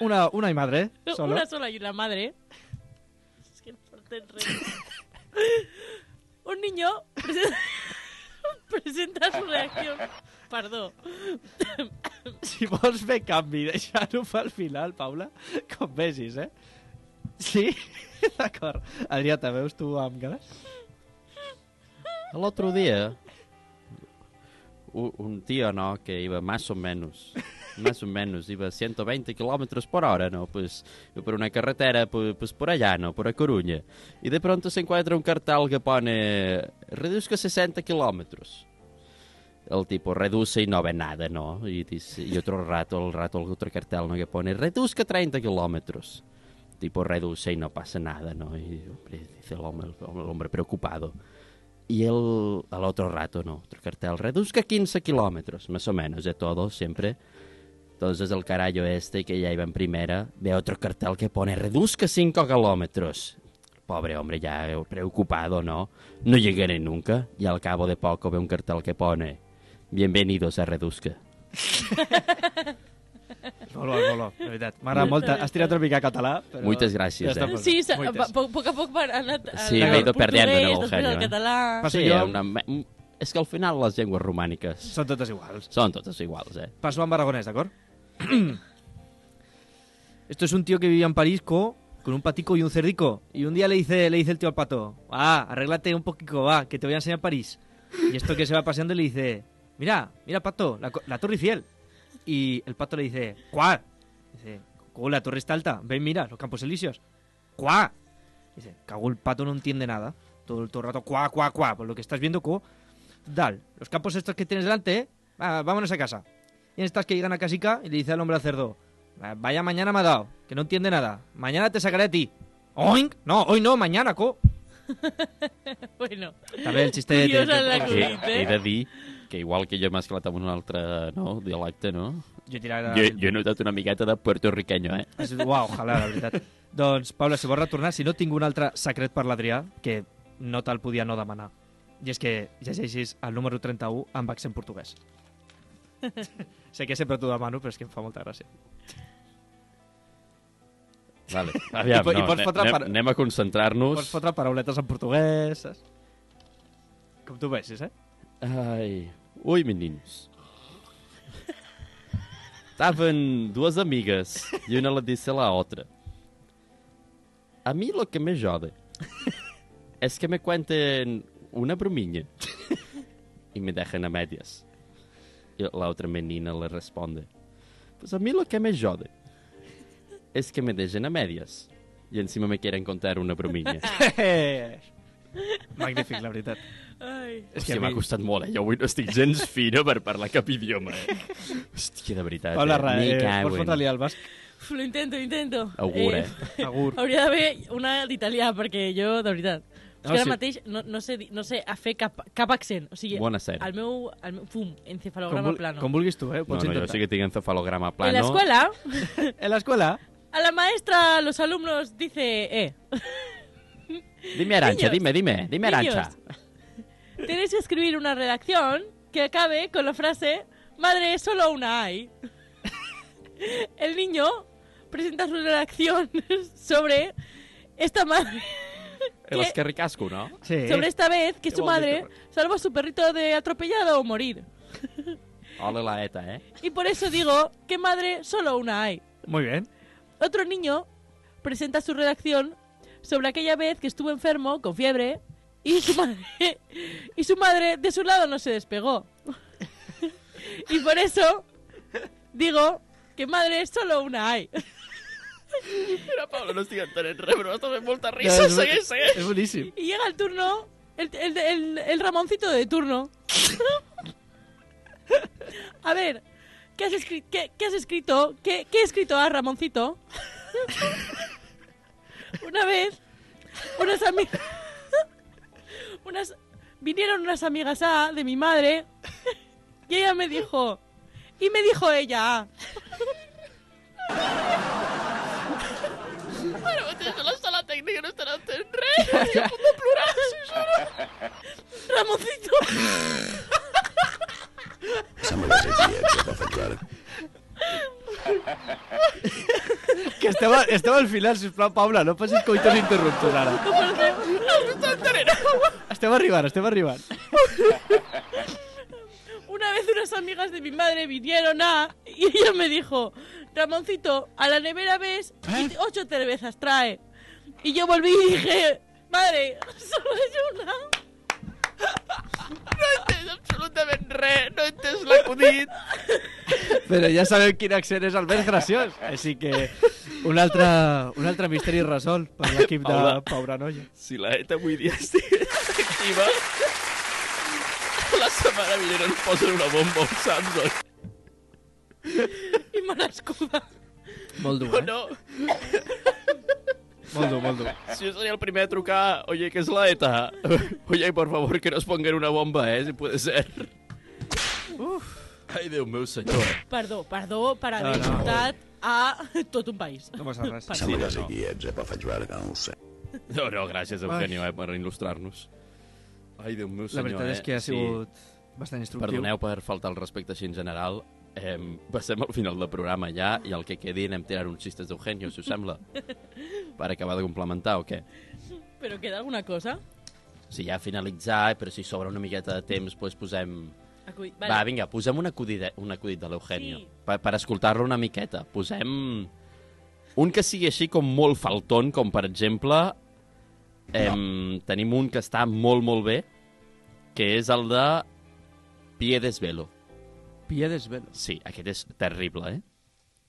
Speaker 3: Una, una y madre, solo.
Speaker 2: Una sola y una madre. Es que el porte es re- Un niño presen- presenta su reacción. Perdó.
Speaker 3: Si vols fer canvi, deixar-ho pel final, Paula, com vegis, eh? Sí? D'acord. Adrià, te veus tu amb ganes?
Speaker 1: L'altre dia, u- un tío, ¿no?, que iba más o menos, más o menos, iba a 120 kilómetros por hora, ¿no?, pues, por una carretera, pu- pues, por allá, ¿no?, por A Coruña. Y de pronto se encuentra un cartel que pone, reduzca 60 kilómetros. El tipo reduce y no ve nada, ¿no? Y, dice, y otro rato, el rato, el otro cartel, ¿no?, que pone, reduzca 30 kilómetros. Tipo reduce y no pasa nada, ¿no? Y hombre, dice el hombre, el hombre preocupado. Y él, al otro rato, no, otro cartel, reduzca 15 kilómetros, más o menos, de todo, siempre. Entonces el carallo este, que ya iba en primera, ve otro cartel que pone, reduzca 5 kilómetros. Pobre hombre, ya preocupado, ¿no? No llegaré nunca. Y al cabo de poco ve un cartel que pone, bienvenidos a Reduzca.
Speaker 3: Molt bo, molt bo, de veritat. M'agrada molt. eh? Has tirat una mica català, però...
Speaker 1: Muchas gracias, eh?
Speaker 3: posat.
Speaker 2: Sí, se, va,
Speaker 3: Muites.
Speaker 2: po- poc a poc ha anat al
Speaker 1: Sí, me he ido
Speaker 2: portuguès,
Speaker 1: perdiendo en el
Speaker 2: després al
Speaker 1: genio, eh?
Speaker 2: català...
Speaker 1: Sí,
Speaker 3: jo-
Speaker 1: una me- un- és que al final les llengües romàniques
Speaker 3: Són totes iguals.
Speaker 1: són totes iguals, eh?
Speaker 3: Paso en Barragonés, ¿d'accord? Esto es un tío que vivía en París co- con un patico y un cerdico. Y un día le dice, le dice el tío al pato, ah, arréglate un poquito, va, que te voy a enseñar París. Y esto que se va paseando le dice, mira, mira, pato, la, co- la Torre Eiffel. Y el pato le dice, ¿cuál? Dice, "Cu, la torre está alta, ven, mira, los Campos Elíseos. ¡Cuá! Dice, cago, el pato no entiende nada. Todo, el- todo el rato, cuá, cuá, cuá, por lo que estás viendo, cuá. Dal, los campos estos que tienes delante, ¿eh? Va, vámonos a casa. Y en estas que llegan a casica y le dice al hombre al cerdo, "Ah, vaya mañana me ha dado, que no entiende nada. Mañana te sacaré a ti. Oink, no, hoy no, mañana, co.
Speaker 2: Bueno,
Speaker 3: També el xiste...
Speaker 2: Curiosa
Speaker 3: de-
Speaker 2: l'acudit,
Speaker 1: he
Speaker 2: eh?
Speaker 1: de dir que igual que jo m'he esclatat amb un altre no, dialecte, no?
Speaker 3: Jo tiraré...
Speaker 1: Jo, jo he notat una miqueta de puertorriqueño, eh?
Speaker 3: Has dit, uau, ojalà, la veritat. doncs, Paula, si vols retornar, si no, tinc un altre secret per l'Adrià que no te'l podia no demanar. I és que llegeixis el número 31 amb accent portuguès. sé que sempre t'ho demano, però és que em fa molta gràcia.
Speaker 1: Vale. Aviam,
Speaker 3: I po- i
Speaker 1: no,
Speaker 3: pots
Speaker 1: ne-
Speaker 3: fotre
Speaker 1: anem,
Speaker 3: per-
Speaker 1: anem a
Speaker 3: Pots
Speaker 1: concentrar-nos.
Speaker 3: fotre parauletes en portuguès, saps? Com tu vegis, eh?
Speaker 1: Ai, ui, meninos. Estavam duas amigas e uma ela disse à outra: A mim, lo que me jode é que me cuenten uma brominha e me deixam a médias. E a outra menina lhe responde: Pues a mim, lo que me jode é que me deixam a médias e em cima me querem contar uma brominha.
Speaker 3: Magnífic, la veritat.
Speaker 2: Ai.
Speaker 1: És que m'ha costat molt, eh? Jo avui no estic gens fina per parlar cap idioma, eh? Hòstia, de veritat,
Speaker 3: Paula,
Speaker 1: eh?
Speaker 3: ra,
Speaker 1: M'hi
Speaker 3: eh,
Speaker 1: cago
Speaker 3: pots
Speaker 1: en-
Speaker 3: fotre-li al basc?
Speaker 2: Uf, Lo intento, lo intento.
Speaker 1: Augur, eh?
Speaker 3: Augur.
Speaker 2: Hauria d'haver una d'italià, perquè jo, de veritat... És
Speaker 1: No,
Speaker 2: que ara
Speaker 1: sí.
Speaker 2: mateix no, no, sé, dir- no sé a fer cap, cap accent. O sigui,
Speaker 1: Buonasera.
Speaker 2: el meu, el meu fum,
Speaker 1: Com
Speaker 2: encefalograma
Speaker 1: vul-
Speaker 2: plano.
Speaker 1: com vulguis tu, eh? Ho pots
Speaker 3: No, no, jo
Speaker 1: intentar.
Speaker 3: sí que
Speaker 1: tinc encefalograma
Speaker 2: En la escuela,
Speaker 3: En la escuela.
Speaker 2: a la maestra, los alumnos dice, eh,
Speaker 1: Dime, Arancha,
Speaker 2: Niños.
Speaker 1: dime, dime, dime, Arancha.
Speaker 2: Niños. tenéis que escribir una redacción que acabe con la frase, madre, solo una hay. El niño presenta su redacción sobre esta madre.
Speaker 1: El esquerricasco, no?
Speaker 3: Sí.
Speaker 2: Sobre esta vez que
Speaker 1: Qué
Speaker 2: su
Speaker 1: bonito.
Speaker 2: madre salva a su perrito de atropellado o morir.
Speaker 1: Ole la ETA, eh?
Speaker 2: Y por eso digo que madre solo una hay.
Speaker 3: Muy bien.
Speaker 2: Otro niño presenta su redacción sobre aquella vez que estuvo enfermo con fiebre y su madre, y su madre de su lado no se despegó. Y por eso digo que madre solo una hay.
Speaker 1: Mira, Pablo, no estic entenent res, però m'està fent molta
Speaker 2: risa,
Speaker 3: és,
Speaker 2: segueix, segueix.
Speaker 3: Doncs És boníssim.
Speaker 2: Y llega el turno, el, el- el- el Ramoncito de turno. A ver, ¿qué has, escri- qué, qué has escrito? ¿Qué, qué he escrito a Ramoncito? Una vez, unas amigas... Unas, vinieron unas amigas A de mi madre y ella me dijo... Y me dijo ella "Ah, A.
Speaker 11: Ara mateix a la sala tècnica no estan entén res. Jo puc plorar, si
Speaker 2: Ramoncito.
Speaker 3: Que esteu, a- esteu al final, sisplau, Paula, no passis coitos interruptos ara. Esteu arribant, esteu arribant.
Speaker 2: Una vez unas amigas de mi madre vinieron a... Y ella me dijo, Ramoncito, a la nevera ves
Speaker 1: ¿Eh?
Speaker 2: y te- ocho cervezas trae. Y yo volví y dije, madre, solo hay una.
Speaker 11: No he entès absolutament res, no he entès l'acudit.
Speaker 3: Però ja sabem quin accent és el més graciós. Així que un altre, un altre misteri resolt per l'equip de
Speaker 1: Paula.
Speaker 3: Paula Noia.
Speaker 1: Si la ETA avui dia estigués activa, la setmana vinent ens posen una bomba al Samsung.
Speaker 2: I me l'escuda.
Speaker 3: Molt
Speaker 1: No,
Speaker 3: dur, eh?
Speaker 1: no.
Speaker 3: Molt dur, molt dur.
Speaker 1: Si jo seria el primer a trucar, oye, que és la ETA? Oye, por favor, que nos pongan una bomba, eh, si puede ser.
Speaker 2: Uf.
Speaker 1: Ai, Déu meu senyor.
Speaker 2: Perdó, perdó per haver
Speaker 1: No, no.
Speaker 2: insultat a tot un país. No
Speaker 3: passa res.
Speaker 9: Se me les guiets, eh, per faig veure que no ho sé.
Speaker 1: No, no, gràcies, Eugenio, eh, per il·lustrar-nos. Ai, Déu meu
Speaker 3: La
Speaker 1: senyor,
Speaker 3: veritat
Speaker 1: eh?
Speaker 3: és que ha sigut bastant instructiu.
Speaker 1: Perdoneu per faltar el respecte així en general. Eh, passem al final del programa ja i el que quedi anem tirant uns xistes d'Eugenio, si us sembla. Per acabar de complementar o què?
Speaker 2: Però queda alguna cosa?
Speaker 1: Si ja finalitzar, però si sobra una miqueta de temps, doncs posem...
Speaker 2: Acudit,
Speaker 1: Vale.
Speaker 2: vale.
Speaker 1: Va, vinga, posem un acudit, un acudit de l'Eugenio.
Speaker 2: Sí.
Speaker 1: Sí. Per, per escoltar-lo una miqueta. Posem un que sigui així com molt faltón, com per exemple... Em, Tenim un que està molt, molt bé, que és el de Pie Desvelo.
Speaker 3: Pie Desvelo.
Speaker 1: Sí, aquest és terrible, eh?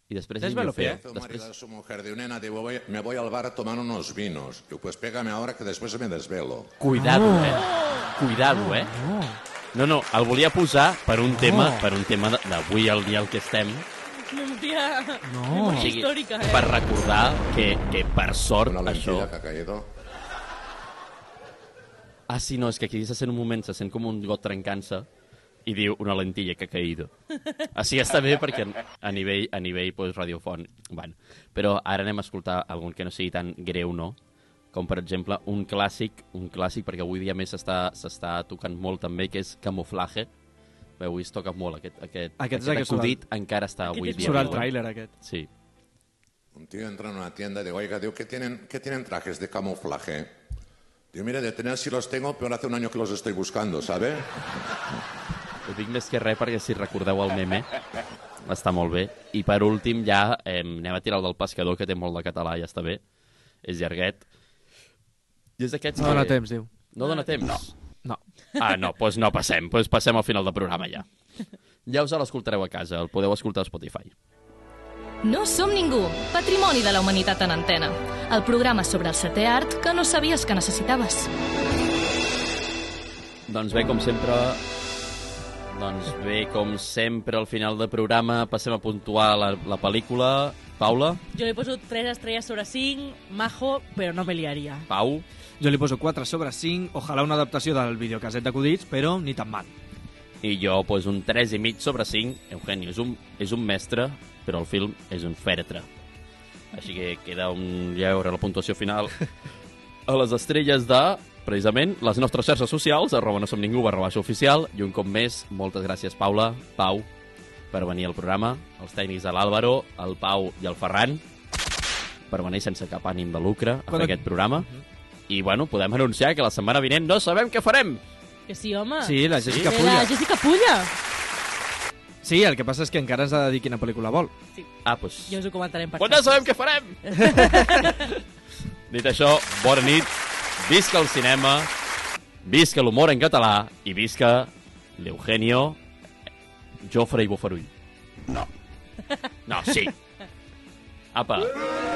Speaker 1: I després...
Speaker 3: Desvelo,
Speaker 1: Pie.
Speaker 12: Hizo
Speaker 1: Després...
Speaker 12: marido a su mujer de una nena, digo, voy- me voy al bar a tomar unos vinos. Digo, pues pégame ahora que después me desvelo.
Speaker 1: Cuidado, eh? Cuidado, eh? No, no, el volia posar per un tema, per un tema de- d'avui al dia al que estem,
Speaker 2: Memòria... No.
Speaker 1: O
Speaker 2: Memòria
Speaker 1: sigui,
Speaker 2: històrica, eh?
Speaker 1: per recordar que, que per sort això...
Speaker 12: Que ha caído.
Speaker 1: Ah, sí, no, és que aquí se sent un moment, se sent com un got trencant-se i diu una lentilla que ha caído. Així està bé perquè a nivell, a nivell pues, radiofon... Bueno, però ara anem a escoltar algun que no sigui tan greu, no? Com, per exemple, un clàssic, un clàssic perquè avui dia més s'està s'està tocant molt també, que és Camuflaje. Bé, avui es toca molt aquest, aquest,
Speaker 3: Aquest és
Speaker 1: aquest,
Speaker 3: el que surt
Speaker 1: acudit,
Speaker 3: al-
Speaker 1: encara està
Speaker 3: Aquest
Speaker 1: avui
Speaker 3: és
Speaker 1: dia.
Speaker 3: surt al
Speaker 1: viu, eh?
Speaker 3: tràiler, aquest.
Speaker 1: Sí.
Speaker 12: Un tío entra en una tienda y digo, oiga, digo, ¿qué tienen, ¿qué tienen trajes de camuflaje? Digo, mire, de tener si los tengo, pero hace un año que los estoy buscando, ¿sabe?
Speaker 1: Ho dic més que res perquè si recordeu el meme està molt bé. I per últim ja eh, anem a tirar el del pescador que té molt de català, ja està bé. És llarguet. I és d'aquests
Speaker 3: No
Speaker 1: que-
Speaker 3: dona temps, diu.
Speaker 1: No dona temps? No.
Speaker 3: No.
Speaker 1: Ah, no, doncs no passem. Doncs passem al final del programa ja. Ja us l'escoltareu a casa, el podeu escoltar a Spotify.
Speaker 5: No som ningú, patrimoni de la humanitat en antena. El programa sobre el setè art que no sabies que necessitaves.
Speaker 1: Doncs bé, com sempre... Doncs bé, com sempre, al final del programa passem a puntuar la, la pel·lícula. Paula,
Speaker 2: Jo li poso 3 estrelles sobre 5, majo, però no me liaria.
Speaker 1: Pau...
Speaker 3: Jo li poso 4 sobre 5, ojalà una adaptació del videocaset d'acudits, però ni tan mal.
Speaker 1: I jo, doncs, un 3 i mig sobre 5. Eugenio és un, és un mestre, però el film és un fèretre. Així que queda un lleure a la puntuació final a les estrelles de, precisament, les nostres xarxes socials, arroba no som ningú, barra baixa oficial, i un cop més, moltes gràcies, Paula, Pau, per venir al programa, els tècnics de l'Àlvaro, el Pau i el Ferran, per venir sense cap ànim de lucre a
Speaker 3: Quan-
Speaker 1: fer aquest programa. I, bueno, podem anunciar que la setmana vinent no sabem què farem.
Speaker 2: Que Ah. sí, home.
Speaker 3: Sí, la Jessica
Speaker 2: Ve
Speaker 3: Pulla.
Speaker 2: La Jessica Pulla.
Speaker 3: Sí, el que passa és que encara ens ha de dir quina pel·lícula vol.
Speaker 2: Sí.
Speaker 1: Ah, doncs...
Speaker 2: Jo us ho comentarem per
Speaker 1: Quan no sabem què farem! Dit això, bona nit, visca el cinema, visca l'humor en català i visca l'Eugenio Jofre i Bofarull. No. No, sí. Apa,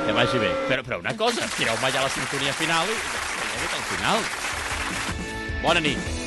Speaker 1: que vagi bé. Però, però una cosa, tireu-me ja la sintonia final i... Al final. Bona nit.